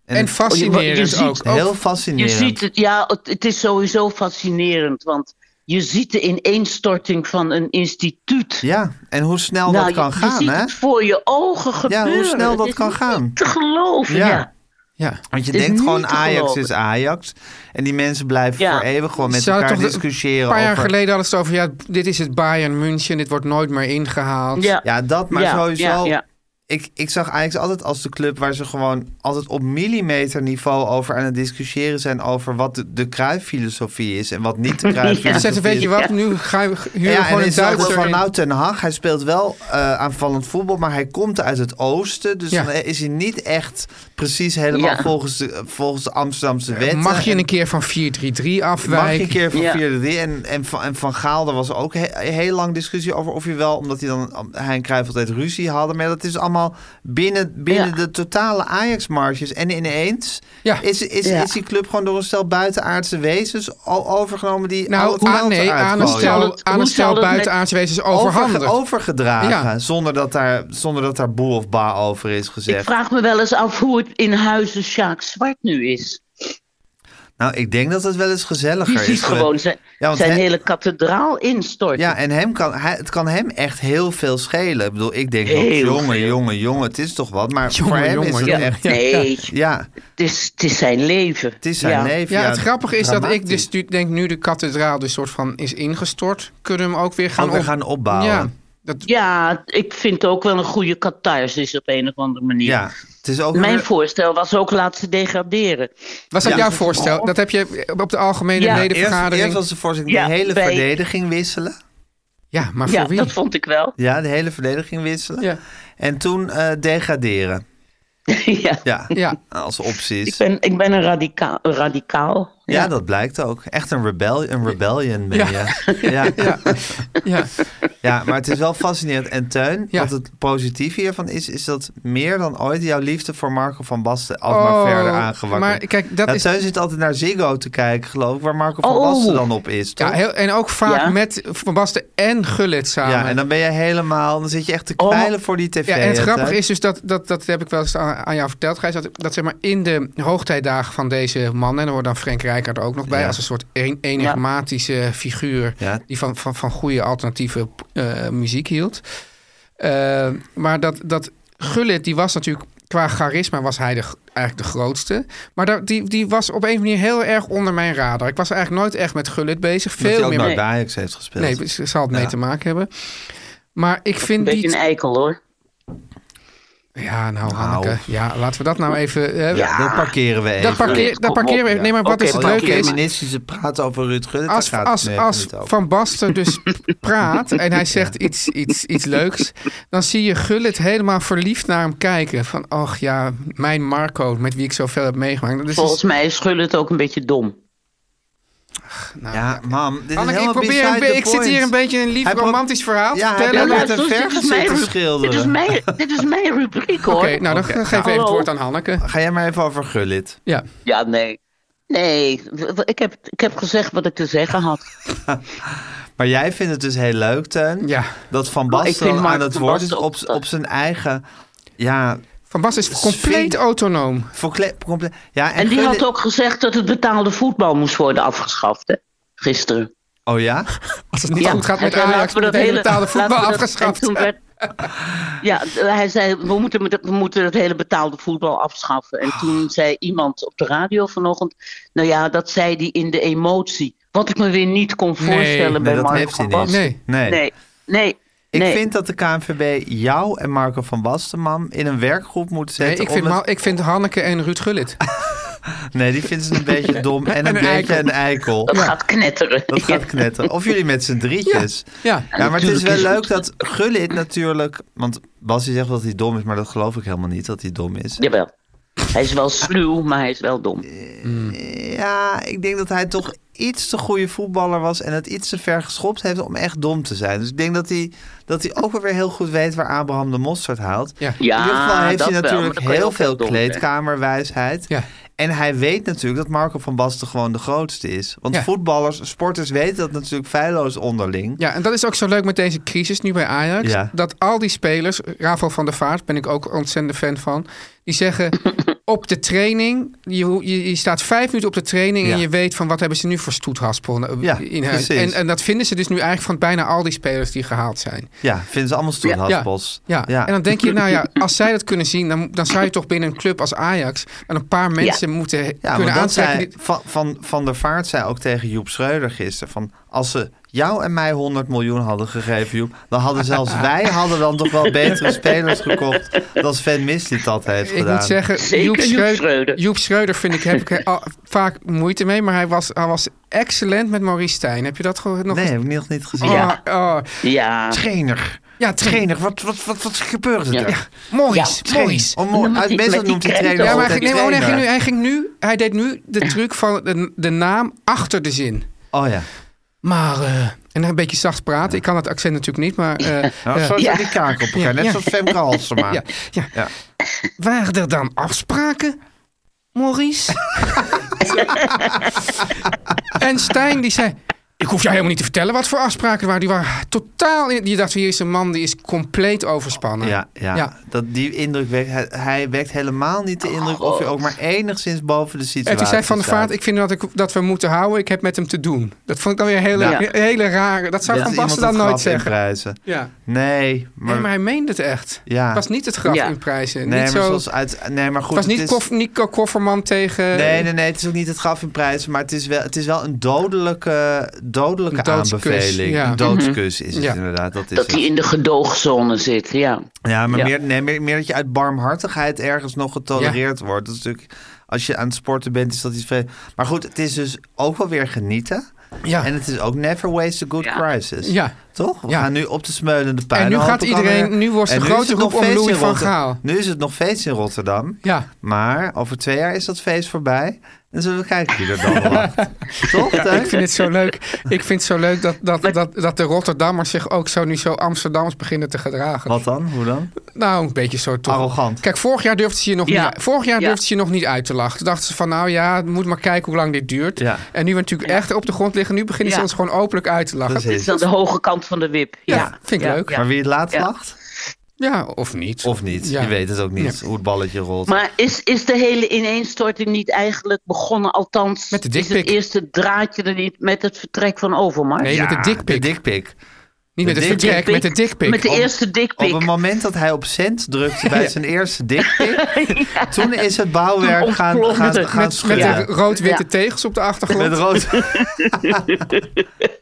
En,
En
je-
fascinerend
je ziet-
ook. ook.
heel
Je
fascinerend.
ziet het, ja, het, het is sowieso fascinerend, want je ziet de ineenstorting van een instituut.
Ja, en hoe snel
Nou,
dat kan
je, je
gaan,
ziet
hè?
het voor je ogen
Ja,
gebeuren.
hoe snel
Het
dat
is
kan
niet
gaan.
Te geloven, ja.
Ja.
ja.
Ja.
Want je
Het is
denkt
niet
gewoon
te
Ajax
geloven.
is Ajax. En die mensen blijven
Ja.
voor eeuwig gewoon met
Ze hadden
elkaar
toch de-
discussiëren.
Een paar jaar
over...
geleden hadden ze het over, ja, dit is het Bayern München, dit wordt nooit meer ingehaald.
Ja, dat, maar
Ja,
sowieso.
ja, ja.
Ik, ik zag Ajax altijd als de club waar ze gewoon altijd op millimeterniveau over aan het discussiëren zijn. Over wat de, de Cruijff-filosofie is en wat niet de
Dan
Cruijff-filosofie
zeggen ze, weet
is.
je wat, nu ga je huren
Ja, en
gewoon
dan
een
is het altijd
Duitser
van
in.
nou Ten Hag, hij speelt wel eh, aanvallend voetbal, maar hij komt uit het oosten. Dus
Ja.
dan is hij niet echt precies helemaal
Ja.
volgens, de, volgens de Amsterdamse wet.
Mag je een keer van 4-3-3
eh, Mag je een
afwijken?
keer van
Ja.
4 en, en, van, en Van Gaal, daar was ook he- heel lang discussie over of je wel, omdat hij dan hij en Cruijff altijd ruzie hadden, maar dat is allemaal binnen, binnen
Ja.
de totale Ajax-marges. En ineens
Ja.
is, is,
Ja.
is die club gewoon door een stel buitenaardse wezens al overgenomen die al
Nou,
het geld
aan, nee,
eruit
aan een
gooien.
Hoe
stel,
zal het-
aan een
hoe
stel
zal het met-
buitenaardse wezens
Overge-
overhandigd.
overgedragen,
Ja.
zonder, dat daar, zonder dat daar boe of ba over is gezegd.
Ik vraag me wel eens af hoe het in huizen Sjaak Zwart nu is.
Nou, ik denk dat het wel eens gezelliger
Die
is.
ziet
geweest.
gewoon zijn,
Ja, want
zijn
hij-
hele kathedraal instorten.
Ja, en hem kan, hij, het kan hem echt heel veel schelen. Ik bedoel, ik denk ook,
Heel
jongen,
veel.
jongen, jongen, het is toch wat. Maar
Jongen,
voor hem is het
jongen, ja.
echt... Ja,
nee,
ja,
Het, is, het is zijn leven.
het is zijn
Ja.
leven.
Ja, het grappige is dat ik
dramatisch.
dus nu- denk nu de kathedraal dus soort van is ingestort. Kunnen we hem ook weer gaan,
Ook weer
op-
Oh, gaan opbouwen.
Ja, dat,
Ja, ik vind ook wel een goede catharsis op een of andere manier.
Ja, het is ook...
Mijn
weer-
voorstel was ook laten ze degraderen.
was dat
Ja.
jouw voorstel? Dat heb je op de algemene
Ja.
eerst, eerst
ledenvergadering.
was de voorzitter
Ja,
de hele
bij-
verdediging wisselen.
Ja, maar voor
Ja,
wie?
dat vond ik wel.
Ja, de hele verdediging wisselen.
Ja.
En toen eh, degraderen.
ja.
Ja,
Ja.
als opties.
Ik, ben, ik ben een radicaal. Een radicaal.
Ja, dat blijkt ook. Echt een, rebel een rebellion ben
Ja.
je. Ja. Ja.
Ja.
maar het is wel fascinerend. En Teun,
Ja.
wat het positieve hiervan is, is dat meer dan ooit jouw liefde voor Marco van Basten al
Oh,
maar verder aangewakkerd.
maar kijk, dat
Ja,
is-
Teun zit altijd naar Ziggo te kijken, geloof ik, waar Marco van
Oh.
Basten dan op is. toch?
Ja, heel, en ook vaak
Ja.
met Van Basten en Gullit samen.
Ja, en dan ben je helemaal, dan zit je echt te
Oh.
kwijlen voor die tv.
Ja, en het
hè,
grappige
Teun?
is dus dat, dat, dat heb ik wel eens aan, aan jou verteld, Gijs, dat, dat zeg maar in de hoogtijdagen van deze man, en er hoort dan Frank Rijkaard er ook nog bij,
Ja.
als een soort een, enigmatische figuur
Ja.
die van, van, van goede alternatieve eh, muziek hield. Eh, maar dat, dat Gullit, die was natuurlijk qua charisma was hij de, g- eigenlijk de grootste. Maar dat, die, die was op een of andere manier heel erg onder mijn radar. Ik was eigenlijk nooit echt met Gullit bezig.
Dat hij
Veel
ook
meer
nooit
met
bij Ajax heeft gespeeld.
Nee, ze zal het mee
Ja.
te maken hebben. Maar ik
Een
vind
beetje
die...
een eikel hoor.
Ja, nou, Hanneke. Ja, laten we dat nou even... eh,
Dat parkeren we even.
Dat parkeer,
Gullit,
dat
kom
parkeer
op,
we even. Nee, maar wat
Oké,
is het
parkeer
leuke is...
feministische praten over Ruud Gullit,
Als,
daar gaat
als,
het
als,
even niet over.
Van Basten dus praat en hij zegt iets, iets, iets leuks... dan zie je Gullit helemaal verliefd naar hem kijken. Van, ach ja, mijn Marco, met wie ik zoveel heb meegemaakt. Dat is-
Volgens mij is Gullit ook een beetje dom.
nou,
Ja, mam, dit
Anneke,
is
ik,
helemaal
probeer een
beside
be-
the
ik zit
point.
hier een beetje een lief
Hij pro-
romantisch verhaal te
Ja, hij
vertellen.
probeert
maar-
het te
dus dit, is
verf
mijn,
zitten
ru- dit, is
schilderen.
mijn, dit is mijn rubriek hoor.
Oké, nou dan geef geven we even het
Hallo.
woord aan Hanneke.
Ga jij maar even over Gullit.
Ja.
Ja, nee. Nee, w- w- ik heb, ik heb gezegd wat ik te zeggen had.
Maar jij vindt het dus heel leuk, Teun,
Ja.
dat Van
ik
Basten
vind
dan
Mark
aan het
van
woord is
Basten
op,
ook-
op zijn eigen... Ja,
Van Basten is compleet autonoom.
Voor kle- comple- ja, en
En die
Gullit-
had ook gezegd dat het betaalde voetbal moest worden afgeschaft, hè? Gisteren.
Oh ja?
Als het niet
Ja,
goed gaat met
en laten
Ajax,
we
wordt
dat
de hele
hele-
betaalde voetbal
laten we dat-
afgeschaft.
en toen werd- ja, hij zei, we moeten, met- we moeten het hele betaalde voetbal afschaffen. En toen zei iemand op de radio vanochtend, nou ja, dat zei hij in de emotie. Wat ik me weer niet kon
Nee,
voorstellen
nee,
bij
Nee, dat
Mark
heeft hij
van
niet.
Basten.
Nee.
nee.
Nee, nee.
Ik
nee.
vind dat de KNVB jou en Marco van Bastenman in een werkgroep moet
Nee,
zetten.
ik vind,
om
Ma- ik vind Hanneke en Ruud Gullit.
het- nee die vindt ze een beetje dom en een,
een
beetje
eikel.
een eikel.
dat gaat knetteren.
Dat gaat knetteren. Of jullie met z'n drietjes.
Ja.
Ja, maar het is
Natuurlijk
wel
is
leuk
het-
dat Gullit natuurlijk... Want Bassie zegt dat hij dom is, maar dat geloof ik helemaal niet dat hij dom is.
Jawel. Hij is wel sluw, maar hij is wel dom.
Ja, ik denk dat hij toch iets te goede voetballer was... en het iets te ver geschopt heeft om echt dom te zijn. Dus ik denk dat hij, dat hij ook wel weer heel goed weet waar Abraham de mosterd haalt.
Ja.
Ja,
In ieder geval heeft
dat
hij
wel, maar
natuurlijk
dan kan je
heel
ook heel
veel
dom zijn.
kleedkamerwijsheid.
Ja.
En hij weet natuurlijk dat Marco van Basten gewoon de grootste is. Want
Ja.
voetballers, sporters weten dat natuurlijk feilloos onderling.
Ja, en dat is ook zo leuk met deze crisis nu bij Ajax.
Ja.
Dat al die spelers, Rafael van der Vaart ben ik ook ontzettend fan van, die zeggen op de training, je, ho- je, je staat vijf minuten op de training
Ja.
en je weet van wat hebben ze nu voor stoethaspel eh,
Ja,
in huis.
precies.
En, en dat vinden ze dus nu eigenlijk van bijna al die spelers die gehaald zijn.
Ja, vinden ze allemaal stoelhaspels.
Ja. en dan denk je, nou ja, als zij dat kunnen zien, dan, dan zou je toch binnen een club als Ajax met een paar mensen moeten
Ja,
kunnen
want dat
aantrekken.
zei,
die-
van, van, van der Vaart zei ook tegen Joep Schreuder gisteren... Van, als ze jou en mij 100 miljoen hadden gegeven, Joep... dan hadden zelfs wij hadden dan toch wel betere spelers gekocht... dan Sven Mislit dat heeft
Ik
gedaan.
moet zeggen,
Zeker
Joep
Joep
Schreuder,
Schreuder.
Joep Schreuder vind ik, heb ik al vaak moeite mee, maar hij was, hij was excellent met Maurice Stijn. Heb je dat gewoon nog
nee,
eens-
heb ik nog niet gezien.
Oh,
Ja.
oh.
Ja.
Trainer.
Ja, trainer.
Trainer, wat, wat, wat, wat gebeurt er?
Ja.
daar?
Maurice, Maurice.
Oh,
En
mooi.
dan met
Uit
die-
meestal
met die
noemt hij
krenten
trainer
Ja,
Oh,
maar hij
altijd
ging, nee, maar hij, ging
trainer.
nu, hij, ging nu, hij deed nu de truc van de, de naam achter de zin.
Oh ja.
Maar, eh, en dan een beetje zacht praten. Ik kan dat accent natuurlijk niet, maar... eh,
Nou,
eh,
zo
Ja.
zit die kaak op elkaar.
Ja,
Net
ja.
zoals Femke Halsema.
ja, ja.
Ja.
Waren er dan afspraken, Maurice? en Stijn die zei... Ik hoef jou helemaal niet te vertellen wat voor afspraken er waren. Die waren totaal... in- Je dacht, hier is een man die is compleet overspannen.
Ja, ja.
Ja.
Dat die indruk wekt, hij, hij wekt helemaal niet de indruk of je ook maar enigszins boven de situatie
En toen zei Van der
staat.
Vaart, ik vind dat, ik, dat we moeten houden. Ik heb met hem te doen. Dat vond ik dan weer een hele,
Ja.
een hele rare... Dat zou
Dat
Van
is
Basten dan
iemand het graf
nooit zeggen.
inprijzen.
Ja.
Nee, maar,
Maar, nee, maar hij meende het echt.
Ja.
Het was niet het graf
Ja.
in prijzen.
nee,
niet
maar
zo,
zoals uit, nee, maar goed.
het was niet
het is-
Kof- Nico Kofferman tegen...
Nee, nee, nee, het is ook niet het graf in prijzen, maar het is wel, het is wel een dodelijke, dodelijke
Een doodskus,
aanbeveling.
ja. Mhm.
Een doodskus is het
Ja.
inderdaad. Dat is
Dat
het.
hij in de gedoogzone zit, ja.
Ja, maar
Ja.
Meer, nee, meer, meer dat je uit barmhartigheid ergens nog getolereerd wordt. Dat is natuurlijk, als je aan het sporten bent, is dat iets vreemd. Maar goed, het is dus ook wel weer genieten.
Ja.
En het is ook never waste a good
Ja.
crisis.
Ja.
Toch? We
Ja.
gaan nu op de smeulende pijn.
En nu gaat iedereen- nu wordt de grote roep om Louis van Gaal.
Nu is het nog feest in Rotterdam.
Ja.
Maar over twee jaar is dat feest voorbij. En zullen we kijken wie er dan lacht. Toch? Teun?
Ik vind het zo leuk. Ik vind het zo leuk dat, dat, dat, dat de Rotterdammers zich ook zo nu zo Amsterdams beginnen te gedragen.
Wat dan? Hoe dan?
Nou, een beetje zo toch.
Arrogant.
Kijk, vorig jaar durfden ze je nog,
Ja.
niet, vorig jaar
Ja.
durfden ze je nog niet uit te lachen. Toen dachten ze van, nou ja, moet maar kijken hoe lang dit duurt.
Ja.
En nu we natuurlijk echt op de grond liggen, nu beginnen ze
Ja.
ons gewoon openlijk uit te lachen.
Het
Precies.
is dan de hoge kant van de wip. Ja,
Ja, vind ik
Ja,
leuk.
ja.
Maar wie het laatst
Ja.
lacht?
Ja, of niet.
Of niet?
Ja.
Je weet het ook niet hoe het balletje rolt.
Maar is, is de hele ineenstorting niet eigenlijk begonnen, althans,
Met de
is het
dikpik.
eerste draadje er niet met het vertrek van Overmars?
Nee, met de
De
dikpik.
dikpik.
niet met
de
het
dik-
vertrek, met de dikpik.
Met de
Om-
eerste dikpik.
Op het moment dat hij op cent drukte bij zijn eerste dikpik, toen is het bouwwerk
Toen
gaan,
ontplofte
gaan,
het.
gaan
met
schudden.
de
Met,
rood-witte
Ja.
tegels op de achtergrond.
rood.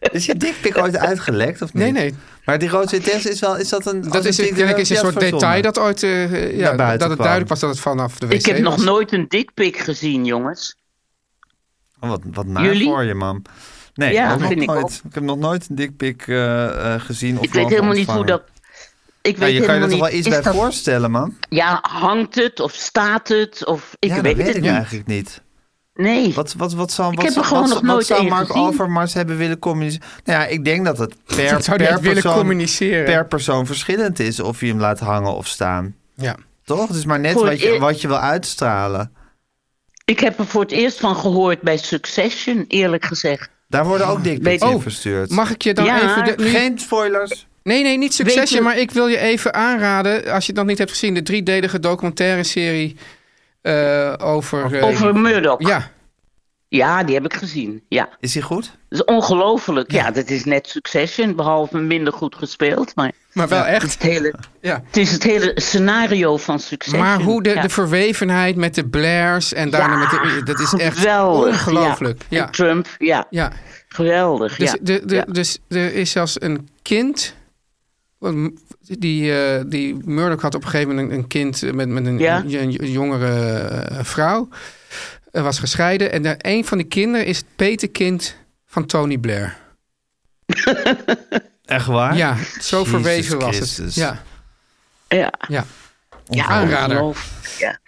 is je dikpik ooit uitgelekt of niet?
Nee, nee.
Maar die rood test is wel, is dat een...
Dat is, ik denk, is een soort detail dat ooit... eh, ja,
Naar buiten
dat het
kwam.
duidelijk was dat het vanaf de wc
Ik heb nog
was.
nooit een dikpik gezien, jongens.
Oh, wat, wat naar
Jullie?
voor je, man. Nee,
Ja,
ook nog
vind ik
nooit.
ook.
Ik heb nog nooit een dikpik eh, eh, gezien of
Ik weet
mogen
helemaal niet hoe
ontvangen.
dat... Ik
Ja,
weet
Nou, je kan je er
helemaal
toch
niet.
wel iets
Is
bij
dat-
voorstellen, man?
Ja, hangt het of staat het? Of, ik
ja, dat
weet
weet
het
ik
niet.
eigenlijk niet.
Nee.
Wat, wat, wat zou,
Ik
wat,
heb er
zou-
gewoon
wat,
nog
wat
nooit
zou
één
Mark
gezien.
Overmars hebben willen communiceren? Nou ja, ik denk dat het per,
Dat zou hij
per,
echt willen
persoon,
communiceren.
per persoon verschillend is of je hem laat hangen of staan.
Ja.
Toch? Het is maar net
Voor
wat je,
eer-
wat je wil uitstralen.
Ik heb er voor het eerst van gehoord bij Succession, eerlijk gezegd.
Daar worden ook dikpics
Weet-
in
Oh,
verstuurd.
Mag ik je dan
Ja.
even... de- nu-
Geen spoilers.
Nee, nee, niet
Weet
Succession,
je-
maar ik wil je even aanraden, als je het nog niet hebt gezien, de driedelige documentaire serie eh, over... eh,
Over Murdoch. Ja.
Ja,
die heb ik gezien. Ja.
Is hij goed?
Dat is ongelooflijk. Ja. dat is net Succession, behalve minder goed gespeeld. Maar
maar wel echt.
het, hele,
Ja.
het is het hele scenario van Succession.
Maar hoe de,
Ja.
de verwevenheid met de Blairs en daarna met de... Dat is echt
Geweldig, ja.
ongelooflijk. Ja,
En Trump, ja.
ja.
Geweldig,
Dus,
ja.
de, de,
ja.
dus er is zelfs een kind. want Die, eh, die Murdoch had op een gegeven moment een, een kind eh, met, met een,
Ja.
een- een jongere eh, vrouw. Er was gescheiden. En daar- een van de kinderen is het petekind van Tony Blair.
Echt waar?
Ja, zo
Jezus
verweven was
Christus.
het. Ja,
ja.
ja.
ja,
aanrader.
ongelooflijk, Ja.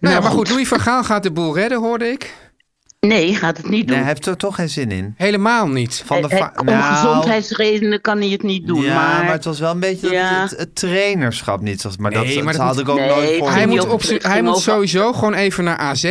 Nou, ja, maar goed, Louis van Gaal gaat de boel redden, hoorde ik.
Nee, gaat het niet doen.
Nee, hij heeft er toch geen zin in.
Helemaal niet.
Van de
Hij-
va-
om
Nou,
gezondheidsredenen kan hij het niet doen.
ja, maar...
maar,
het was wel een beetje dat
Ja.
het, het trainerschap niet was. Maar
Nee,
dat,
maar
dat
dat
had ik ook
Nee,
nooit voor.
dat
Hij
die
moet,
ook
op, z'n- hij
terugkomen
moet
over-
sowieso gewoon even naar AZ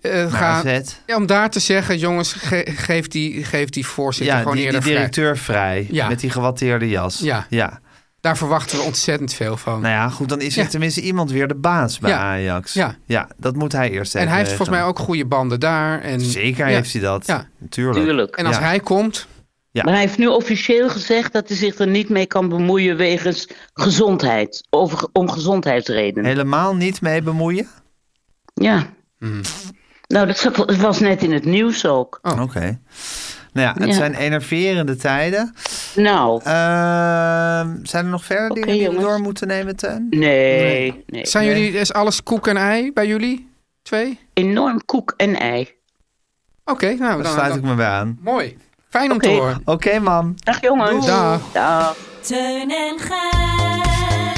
eh, gaan.
AZ.
Ja, om daar te zeggen, jongens, ge- geef, die, geef die voorzitter
Ja,
gewoon
die, die
eerder vrij.
directeur vrij.
Ja.
Met die gewatteerde jas.
Ja. Daar verwachten we ontzettend veel van.
Nou ja, goed, dan is er
Ja.
tenminste iemand weer de baas bij
Ja.
Ajax.
Ja.
dat moet hij eerst
en
even
hij heeft volgens mij
regelen.
ook goede banden daar. En,
Zeker
Ja.
heeft hij dat.
Ja.
Natuurlijk.
Tuurlijk.
En als
Ja.
hij komt,
Maar hij heeft nu officieel gezegd dat hij zich er niet mee kan bemoeien wegens gezondheid. Over, om gezondheidsredenen.
Helemaal niet mee bemoeien?
Ja.
Hmm.
Nou, dat zat- dat was net in het nieuws ook.
Oh.
Oké. Nou ja, het
Ja.
zijn enerverende tijden.
Oh.
Nou,
Eh,
Ehm, zijn er nog verder
Oké,
dingen die we
jongens.
door moeten nemen, Teun?
nee. nee.
zijn jullie, is alles koek en ei bij jullie? Twee?
Enorm koek en ei.
Oké, nou,
Daar
dan,
sluit
dan-
ik me weer aan.
mooi. Fijn om
Oké.
te horen.
Oké, mam.
Dag jongens.
Dag.
Dag.
Teun en Gijs.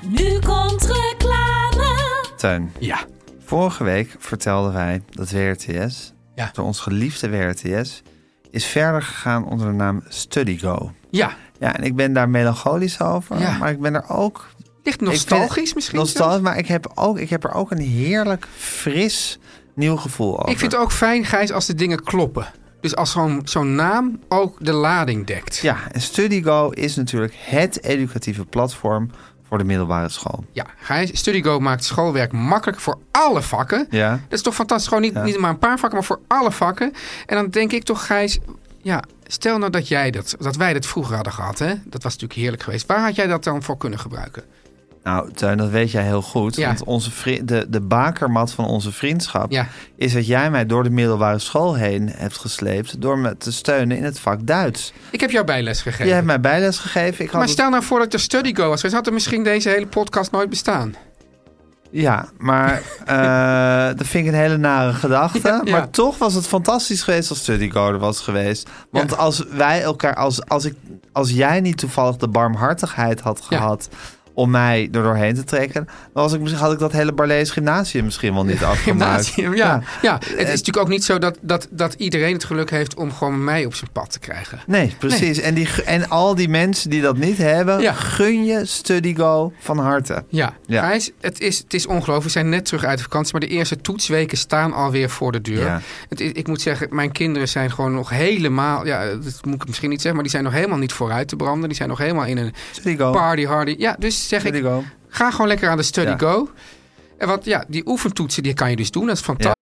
Nu komt reclame.
Teun,
Ja.
vorige week vertelden wij dat WRTS,
Ja.
door ons geliefde WRTS, is verder gegaan onder de naam StudyGo.
Ja.
Ja, en ik ben daar melancholisch over,
Ja.
maar ik ben er ook
Ligt
Ik vind-
nostalgisch misschien? zelfs?
Nostalgisch, maar ik heb, ook, ik heb er ook een heerlijk, fris, nieuw gevoel over.
Ik vind het ook fijn, Gijs, als de dingen kloppen. Dus als gewoon zo'n naam ook de lading dekt.
Ja, en StudyGo is natuurlijk het educatieve platform voor de middelbare school.
Ja, Gijs, StudyGo maakt schoolwerk makkelijk voor alle vakken.
Ja.
Dat is toch fantastisch? Gewoon niet, niet maar een paar vakken, maar voor alle vakken. En dan denk ik toch, Gijs, ja, stel nou dat, jij dat, dat wij dat vroeger hadden gehad. Hè? Dat was natuurlijk heerlijk geweest. Waar had jij dat dan voor kunnen gebruiken?
Nou, Teun, dat weet jij heel goed.
Ja.
Want onze vri- de, de bakermat van onze vriendschap
Ja.
is dat jij mij door de middelbare school heen hebt gesleept... door me te steunen in het vak Duits.
Ik heb jou bijles gegeven.
Je hebt mij bijles gegeven. Ik had
maar
het-
stel nou voor dat ik de StudyGo was geweest, had er misschien deze hele podcast nooit bestaan.
Ja, maar eh, dat vind ik een hele nare gedachte.
Ja, ja.
Maar toch was het fantastisch geweest als StudyCode was geweest. Want
Ja.
als wij elkaar, als, als, ik, als jij niet toevallig de barmhartigheid had
Ja.
gehad om mij er doorheen te trekken, dan was ik, misschien- had ik dat hele Barlees gymnasium misschien wel niet afgemaakt.
Gymnasium, ja. ja. Het is natuurlijk ook niet zo dat, dat, dat iedereen het geluk heeft om gewoon mij op zijn pad te krijgen.
Nee, precies. En, die, en al die mensen die dat niet hebben,
Ja.
gun je StudyGo van harte.
Ja,
Ja.
Gijs, het is, het is ongelooflijk. We zijn net terug uit de vakantie, maar de eerste toetsweken staan alweer voor de deur.
Ja.
Het, is- ik moet zeggen, mijn kinderen zijn gewoon nog helemaal, ja, dat moet ik misschien niet zeggen, maar die zijn nog helemaal niet vooruit te branden. Die zijn nog helemaal in een
StudyGo.
party hardy. Ja, dus zeg ik,
StudyGo.
ga gewoon lekker aan de study
Ja.
go. En wat, ja, die oefentoetsen, die kan je dus doen. Dat is fantastisch.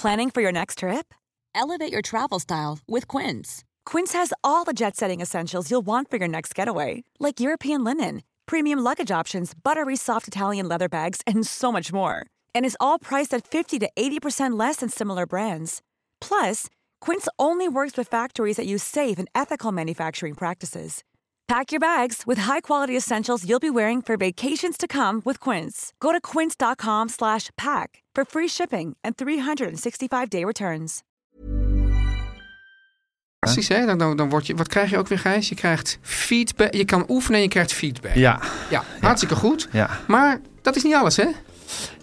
Planning for your next trip? Elevate your travel style with Quince. Quince has all the jet setting essentials you'll want for your next getaway, like European linen, premium luggage options, buttery soft Italian leather bags, and so much more. And is all priced at 50 to 80% less than similar brands. Plus, Quince only works with factories that use safe and ethical manufacturing practices. Pack your bags with high-quality essentials you'll be wearing for vacations to come with Quince. Go to quince.com slash pack for free shipping and 365-day returns.
hè? Dan, dan, dan word je, wat krijg je ook weer, Gijs? Je krijgt feedback. Je kan oefenen en je krijgt feedback.
Ja,
Ja, hartstikke goed.
ja.
Maar dat is niet alles, hè?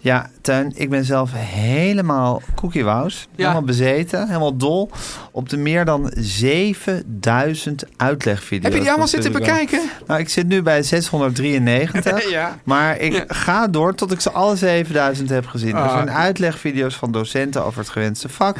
Ja, Tuin, ik ben zelf helemaal cookie wows.
Ja.
Helemaal bezeten, helemaal dol op de meer dan 7000 uitlegvideo's.
Heb je die allemaal
van
zitten
Studio.
bekijken?
Nou, ik zit nu bij 693.
Ja.
Maar ik ga door tot ik ze alle 7000 heb gezien. Er
Ah.
zijn uitlegvideo's van docenten over het gewenste vak.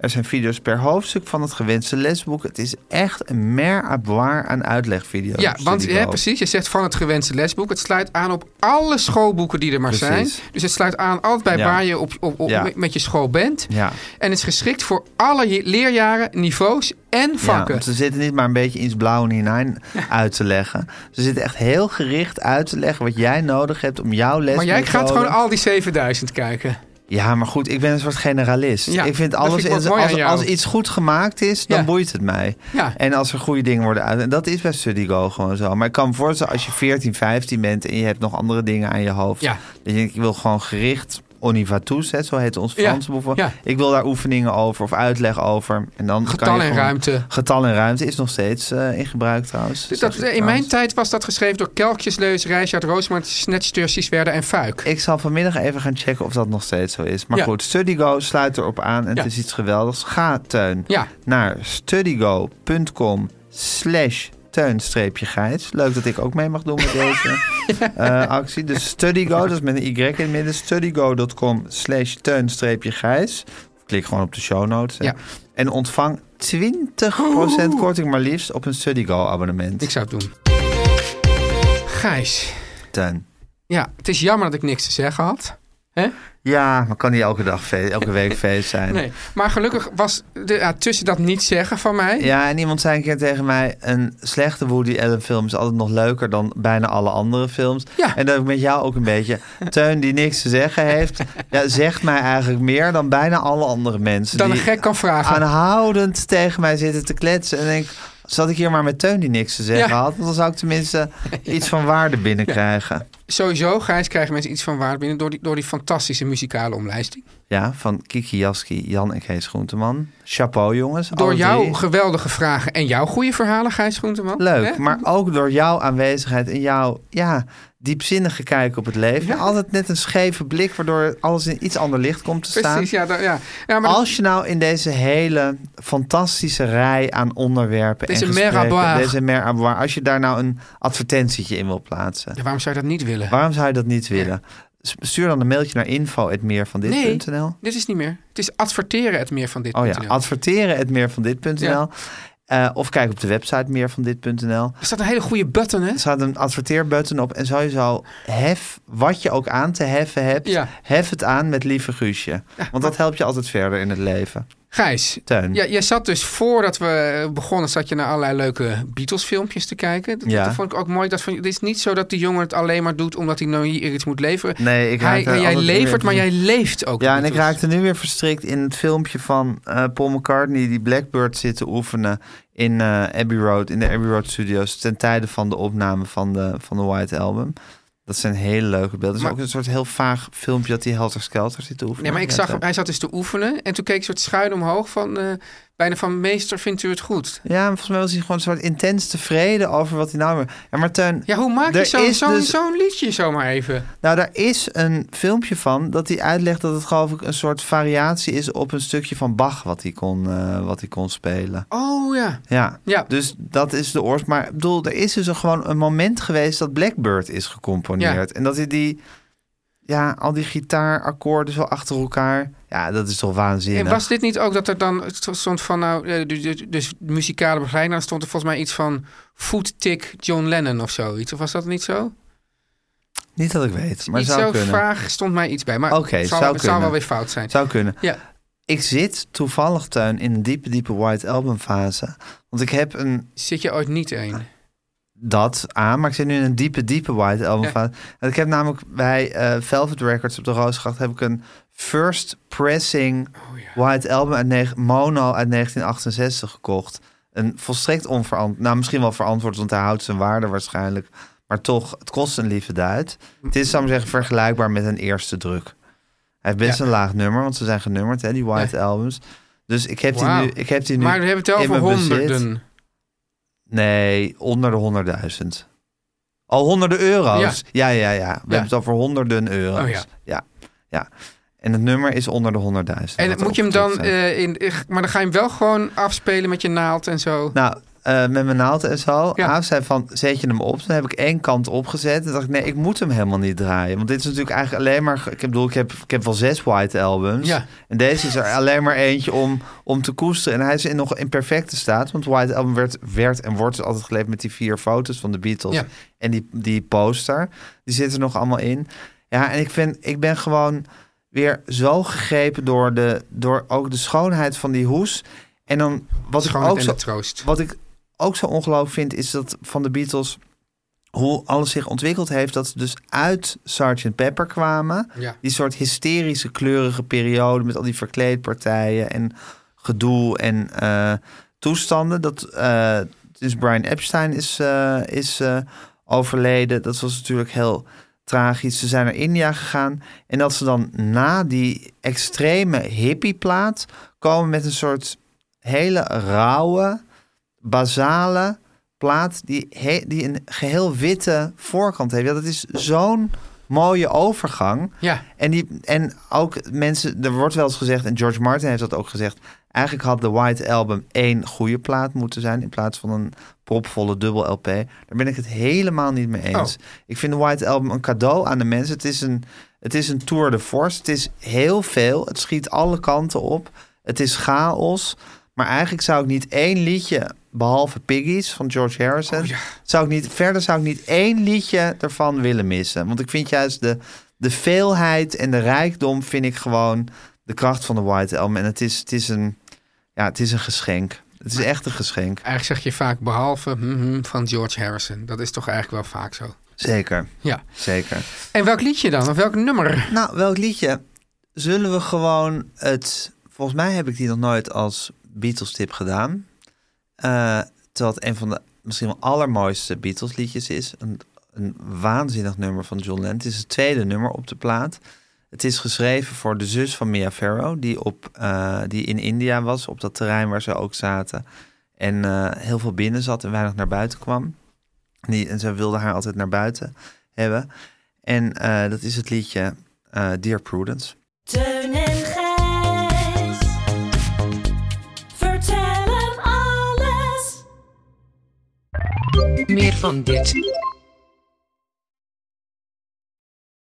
Er zijn video's per hoofdstuk van het gewenste lesboek. Het is echt een mer à boire aan uitlegvideo's.
Ja, want
die ik
hè,
hoop.
precies, je zegt van het gewenste lesboek. Het sluit aan op alle schoolboeken die er maar zijn.
Precies.
Dus het sluit aan altijd bij
Ja.
waar je op, op, op-
Ja.
met- met je school bent.
Ja.
En het is geschikt voor alle je- leerjaren, niveaus en
Ja,
vakken.
want ze zitten niet maar een beetje iets blauw en hinein uit te leggen. Ze zitten echt heel gericht uit te leggen wat jij nodig hebt om jouw les
maar jij gaat gewoon al die 7000 kijken.
Ja, maar goed, ik ben een soort generalist.
Ja,
ik vind
dat
alles,
vind ik wel mooi aan
als,
jou.
als iets goed gemaakt is, dan
Ja.
boeit het mij.
Ja.
En als er goede dingen worden uit. En dat is bij StudyGo gewoon zo. Maar ik kan me voorstellen, als je 14, 15 bent en je hebt nog andere dingen aan je hoofd.
Ja.
Dat je denkt, ik wil gewoon gericht onivatus, hè, zo heet ons
Ja,
Franse boek.
ja.
Ik wil daar oefeningen over of uitleg over. En dan
Getal
kan je
en
gewoon-
ruimte.
Getal en ruimte is nog steeds eh, in gebruik trouwens. Zeg
Dus dat,
ik
in
trouwens.
mijn tijd was dat geschreven door Kelkjesleus, Reisjaard, Roosmart, Snetstursies, Werder en Fuik.
Ik zal vanmiddag even gaan checken of dat nog steeds zo is. Maar
Ja.
goed, StudyGo sluit erop aan en
Ja.
het is iets geweldigs. Ga, Teun,
Ja.
naar studygo.com slash teun-gijs. Leuk dat ik ook mee mag doen met deze eh, actie. Dus StudyGo, dat is met een y in het midden. studygo.com slash teun-gijs. Klik gewoon op de show notes. hè.
Ja.
En ontvang 20% korting maar liefst op een StudyGo abonnement.
Ik zou het doen. Gijs,
Teun.
ja, het is jammer dat ik niks te zeggen had. Hè?
Ja, maar kan niet elke dag feest, elke week feest zijn.
Nee. Maar gelukkig was de, ja, tussen dat niet zeggen van mij.
Ja, en iemand zei een keer tegen mij... een slechte Woody Allen film is altijd nog leuker dan bijna alle andere films.
Ja.
En dat ik met jou ook een beetje... Teun die niks te zeggen heeft... ja, zegt mij eigenlijk meer dan bijna alle andere mensen.
dan een
die
gek kan vragen.
aanhoudend tegen mij zitten te kletsen. En denk, zat ik hier maar met Teun die niks te zeggen
Ja.
had... want dan zou ik tenminste iets van waarde binnenkrijgen.
Sowieso, Gijs, krijgen mensen iets van waarde binnen door die, door die fantastische muzikale omlijsting.
Ja, van Kiki Jaski, Jan en Kees Groenteman. Chapeau jongens.
Door
alle
jouw
drie.
geweldige vragen en jouw goede verhalen, Gijs Groenteman.
Leuk,
Hè?
maar ook door jouw aanwezigheid en jouw ja, diepzinnige kijk op het leven. En altijd net een scheve blik, waardoor alles in iets ander licht komt te staan.
Precies, ja. da- ja. ja maar
Als je nou in deze hele fantastische rij aan onderwerpen
Deze
en
mer à
gesprekken,
boire.
deze mer à boire, als je daar nou een advertentietje in wil plaatsen,
Ja, waarom zou je dat niet willen?
waarom zou je dat niet willen? S- Stuur dan een mailtje naar info@meervandit.nl.
dit is niet meer. Het is adverteren het meer van dit.
Oh ja,
punt nl.
adverteren het meer van dit.nl.
Ja.
Eh, of kijk op de website meer van dit.nl.
Er staat een hele goede button, hè?
Er staat een adverteerbutton op en sowieso hef wat je ook aan te heffen hebt,
Ja.
hef het aan met lieve Guusje. Want dat helpt je altijd verder in het leven.
Gijs,
Teun.
ja, jij zat dus voordat we begonnen, zat je naar allerlei leuke Beatles-filmpjes te kijken. Dat,
Ja.
dat vond ik ook mooi. Dat van, het is niet zo dat die jongen het alleen maar doet omdat hij nou hier iets moet leveren.
Nee, ik
hij,
raak daar
jij
altijd
levert,
weer-
maar jij leeft ook.
Ja,
de
en ik
Beatles.
raakte nu weer verstrikt in het filmpje van eh, Paul McCartney die Blackbird zit te oefenen in eh, Abbey Road, in de Abbey Road Studios ten tijde van de opname van de, van de White Album. Dat zijn hele leuke beelden. Het is
Maar-
ook een soort heel vaag filmpje dat die Helter Skelter zit te oefenen.
Nee, maar ik
Ja,
zag
zo.
hem, hij zat dus te oefenen en toen keek ik soort schuin omhoog van eh, bijna van meester, vindt u het goed?
Ja, maar volgens mij was hij gewoon een soort intens tevreden over wat hij nou weer. Ja, maar Teun,
Ja, hoe maak je
Er
zo'n
is
zo'n
dus-
zo'n liedje zomaar even?
nou daar is een filmpje van dat hij uitlegt dat het geloof ik een soort variatie is op een stukje van Bach wat hij kon, eh, wat hij kon spelen.
Oh ja.
Ja.
Ja.
dus dat is de oorzaak. Maar ik bedoel, er is dus een, gewoon een moment geweest dat Blackbird is gecomponeerd. En dat hij die, ja, al die gitaarakkoorden zo achter elkaar. Ja, dat is toch waanzinnig.
En was dit niet ook dat er dan stond van nou, eh, de- de- dus muzikale begeleiding, dan stond er volgens mij iets van voettik John Lennon of zoiets. Of was dat niet zo?
Niet dat ik weet, maar
niet
zou
zo
kunnen.
vaag stond mij iets bij. Maar
Oké,
het, zal,
zou
het zal wel
kunnen.
weer fout zijn.
Zou kunnen.
Ja.
Ik zit toevallig, Tuin, in een diepe, diepe White Album fase. Want ik heb een
Zit je ooit niet in?
dat aan. Maar ik zit nu in een diepe, diepe White Album
Ja.
fase. En ik heb namelijk bij eh, Velvet Records op de Roosgracht... heb ik een first pressing
Oh,
White Album uit neg- mono uit 1968 gekocht. Een volstrekt onverantwoord... Nou, misschien wel verantwoord, want hij houdt zijn waarde waarschijnlijk. Maar toch, het kost een lieve duit. Het is, zou ik maar zeggen, vergelijkbaar met een eerste druk. Hij heeft best
Ja.
een laag nummer, want ze zijn genummerd, hè, die White Albums. Dus ik heb, die
Wauw.
nu, ik heb die nu
Maar we hebben het wel
in
over
mijn bezit.
honderden.
Nee, onder de honderdduizend. Al honderden euro's. Ja, ja, ja. We hebben het over honderden euro's.
Oh ja.
ja. Ja. En het nummer is onder de honderdduizend.
En
Wat
moet je hem dan,
opgepikt zijn.
eh, in, eh, maar dan ga je hem wel gewoon afspelen met je naald en zo.
Nou, eh, met mijn naald en zo.
Ja.
Aaf zei van, zet je hem op? Toen heb ik één kant opgezet. En dacht ik, nee, ik moet hem helemaal niet draaien. Want dit is natuurlijk eigenlijk alleen maar... ge- Ik bedoel, ik heb, ik heb wel zes white albums.
Ja.
En deze is er alleen maar eentje om, om te koesteren. En hij is in nog in perfecte staat. Want white album werd, werd en wordt dus altijd geleefd met die vier foto's van de Beatles.
Ja.
En die, die poster. Die zitten er nog allemaal in. Ja, en ik, vind, ik ben gewoon weer zo gegrepen door, de, door ook de schoonheid van die hoes. En dan wat ik
Schoonheid
ook
en
zo,
de troost.
wat ik ook zo ongelooflijk vind, is dat van de Beatles hoe alles zich ontwikkeld heeft. Dat ze dus uit Sgt. Pepper kwamen.
Ja.
Die soort hysterische, kleurige periode met al die verkleedpartijen en gedoe en eh, toestanden. Dat, eh, dus Brian Epstein is, eh, is eh, overleden. Dat was natuurlijk heel tragisch. Ze zijn naar India gegaan. En dat ze dan na die extreme hippieplaat komen met een soort hele rauwe, basale plaat die, he- die een geheel witte voorkant heeft. Ja, dat is zo'n mooie overgang.
Ja.
En, die, en ook mensen, er wordt wel eens gezegd, en George Martin heeft dat ook gezegd. Eigenlijk had de White Album één goede plaat moeten zijn in plaats van een propvolle dubbel LP. Daar ben ik het helemaal niet mee eens. Ik vind de White Album een cadeau aan de mensen. Het is een, het is een tour de force. Het is heel veel. Het schiet alle kanten op. Het is chaos. Maar eigenlijk zou ik niet één liedje, behalve Piggies van George Harrison, zou ik niet, verder zou ik niet één liedje ervan willen missen. Want ik vind juist de, de veelheid en de rijkdom vind ik gewoon de kracht van de White Elm. En het is, het is, een, ja, het is een geschenk. Het is echt een geschenk.
Eigenlijk zeg je vaak behalve hm, hm, van George Harrison. Dat is toch eigenlijk wel vaak zo.
Zeker,
Ja.
zeker.
En welk liedje dan? Of welk nummer?
Nou, welk liedje? Zullen we gewoon het... Volgens mij heb ik die nog nooit als Beatles-tip gedaan. Eh, terwijl het een van de misschien wel allermooiste Beatles-liedjes is. Een, een waanzinnig nummer van John Lennon. Het is het tweede nummer op de plaat. Het is geschreven voor de zus van Mia Farrow... die, op, eh, die in India was, op dat terrein waar ze ook zaten. En eh, heel veel binnen zat en weinig naar buiten kwam. Die, en ze wilde haar altijd naar buiten hebben. En eh, dat is het liedje eh, Dear Prudence.
Teun en Gijs. Vertel hem alles.
Meer van dit.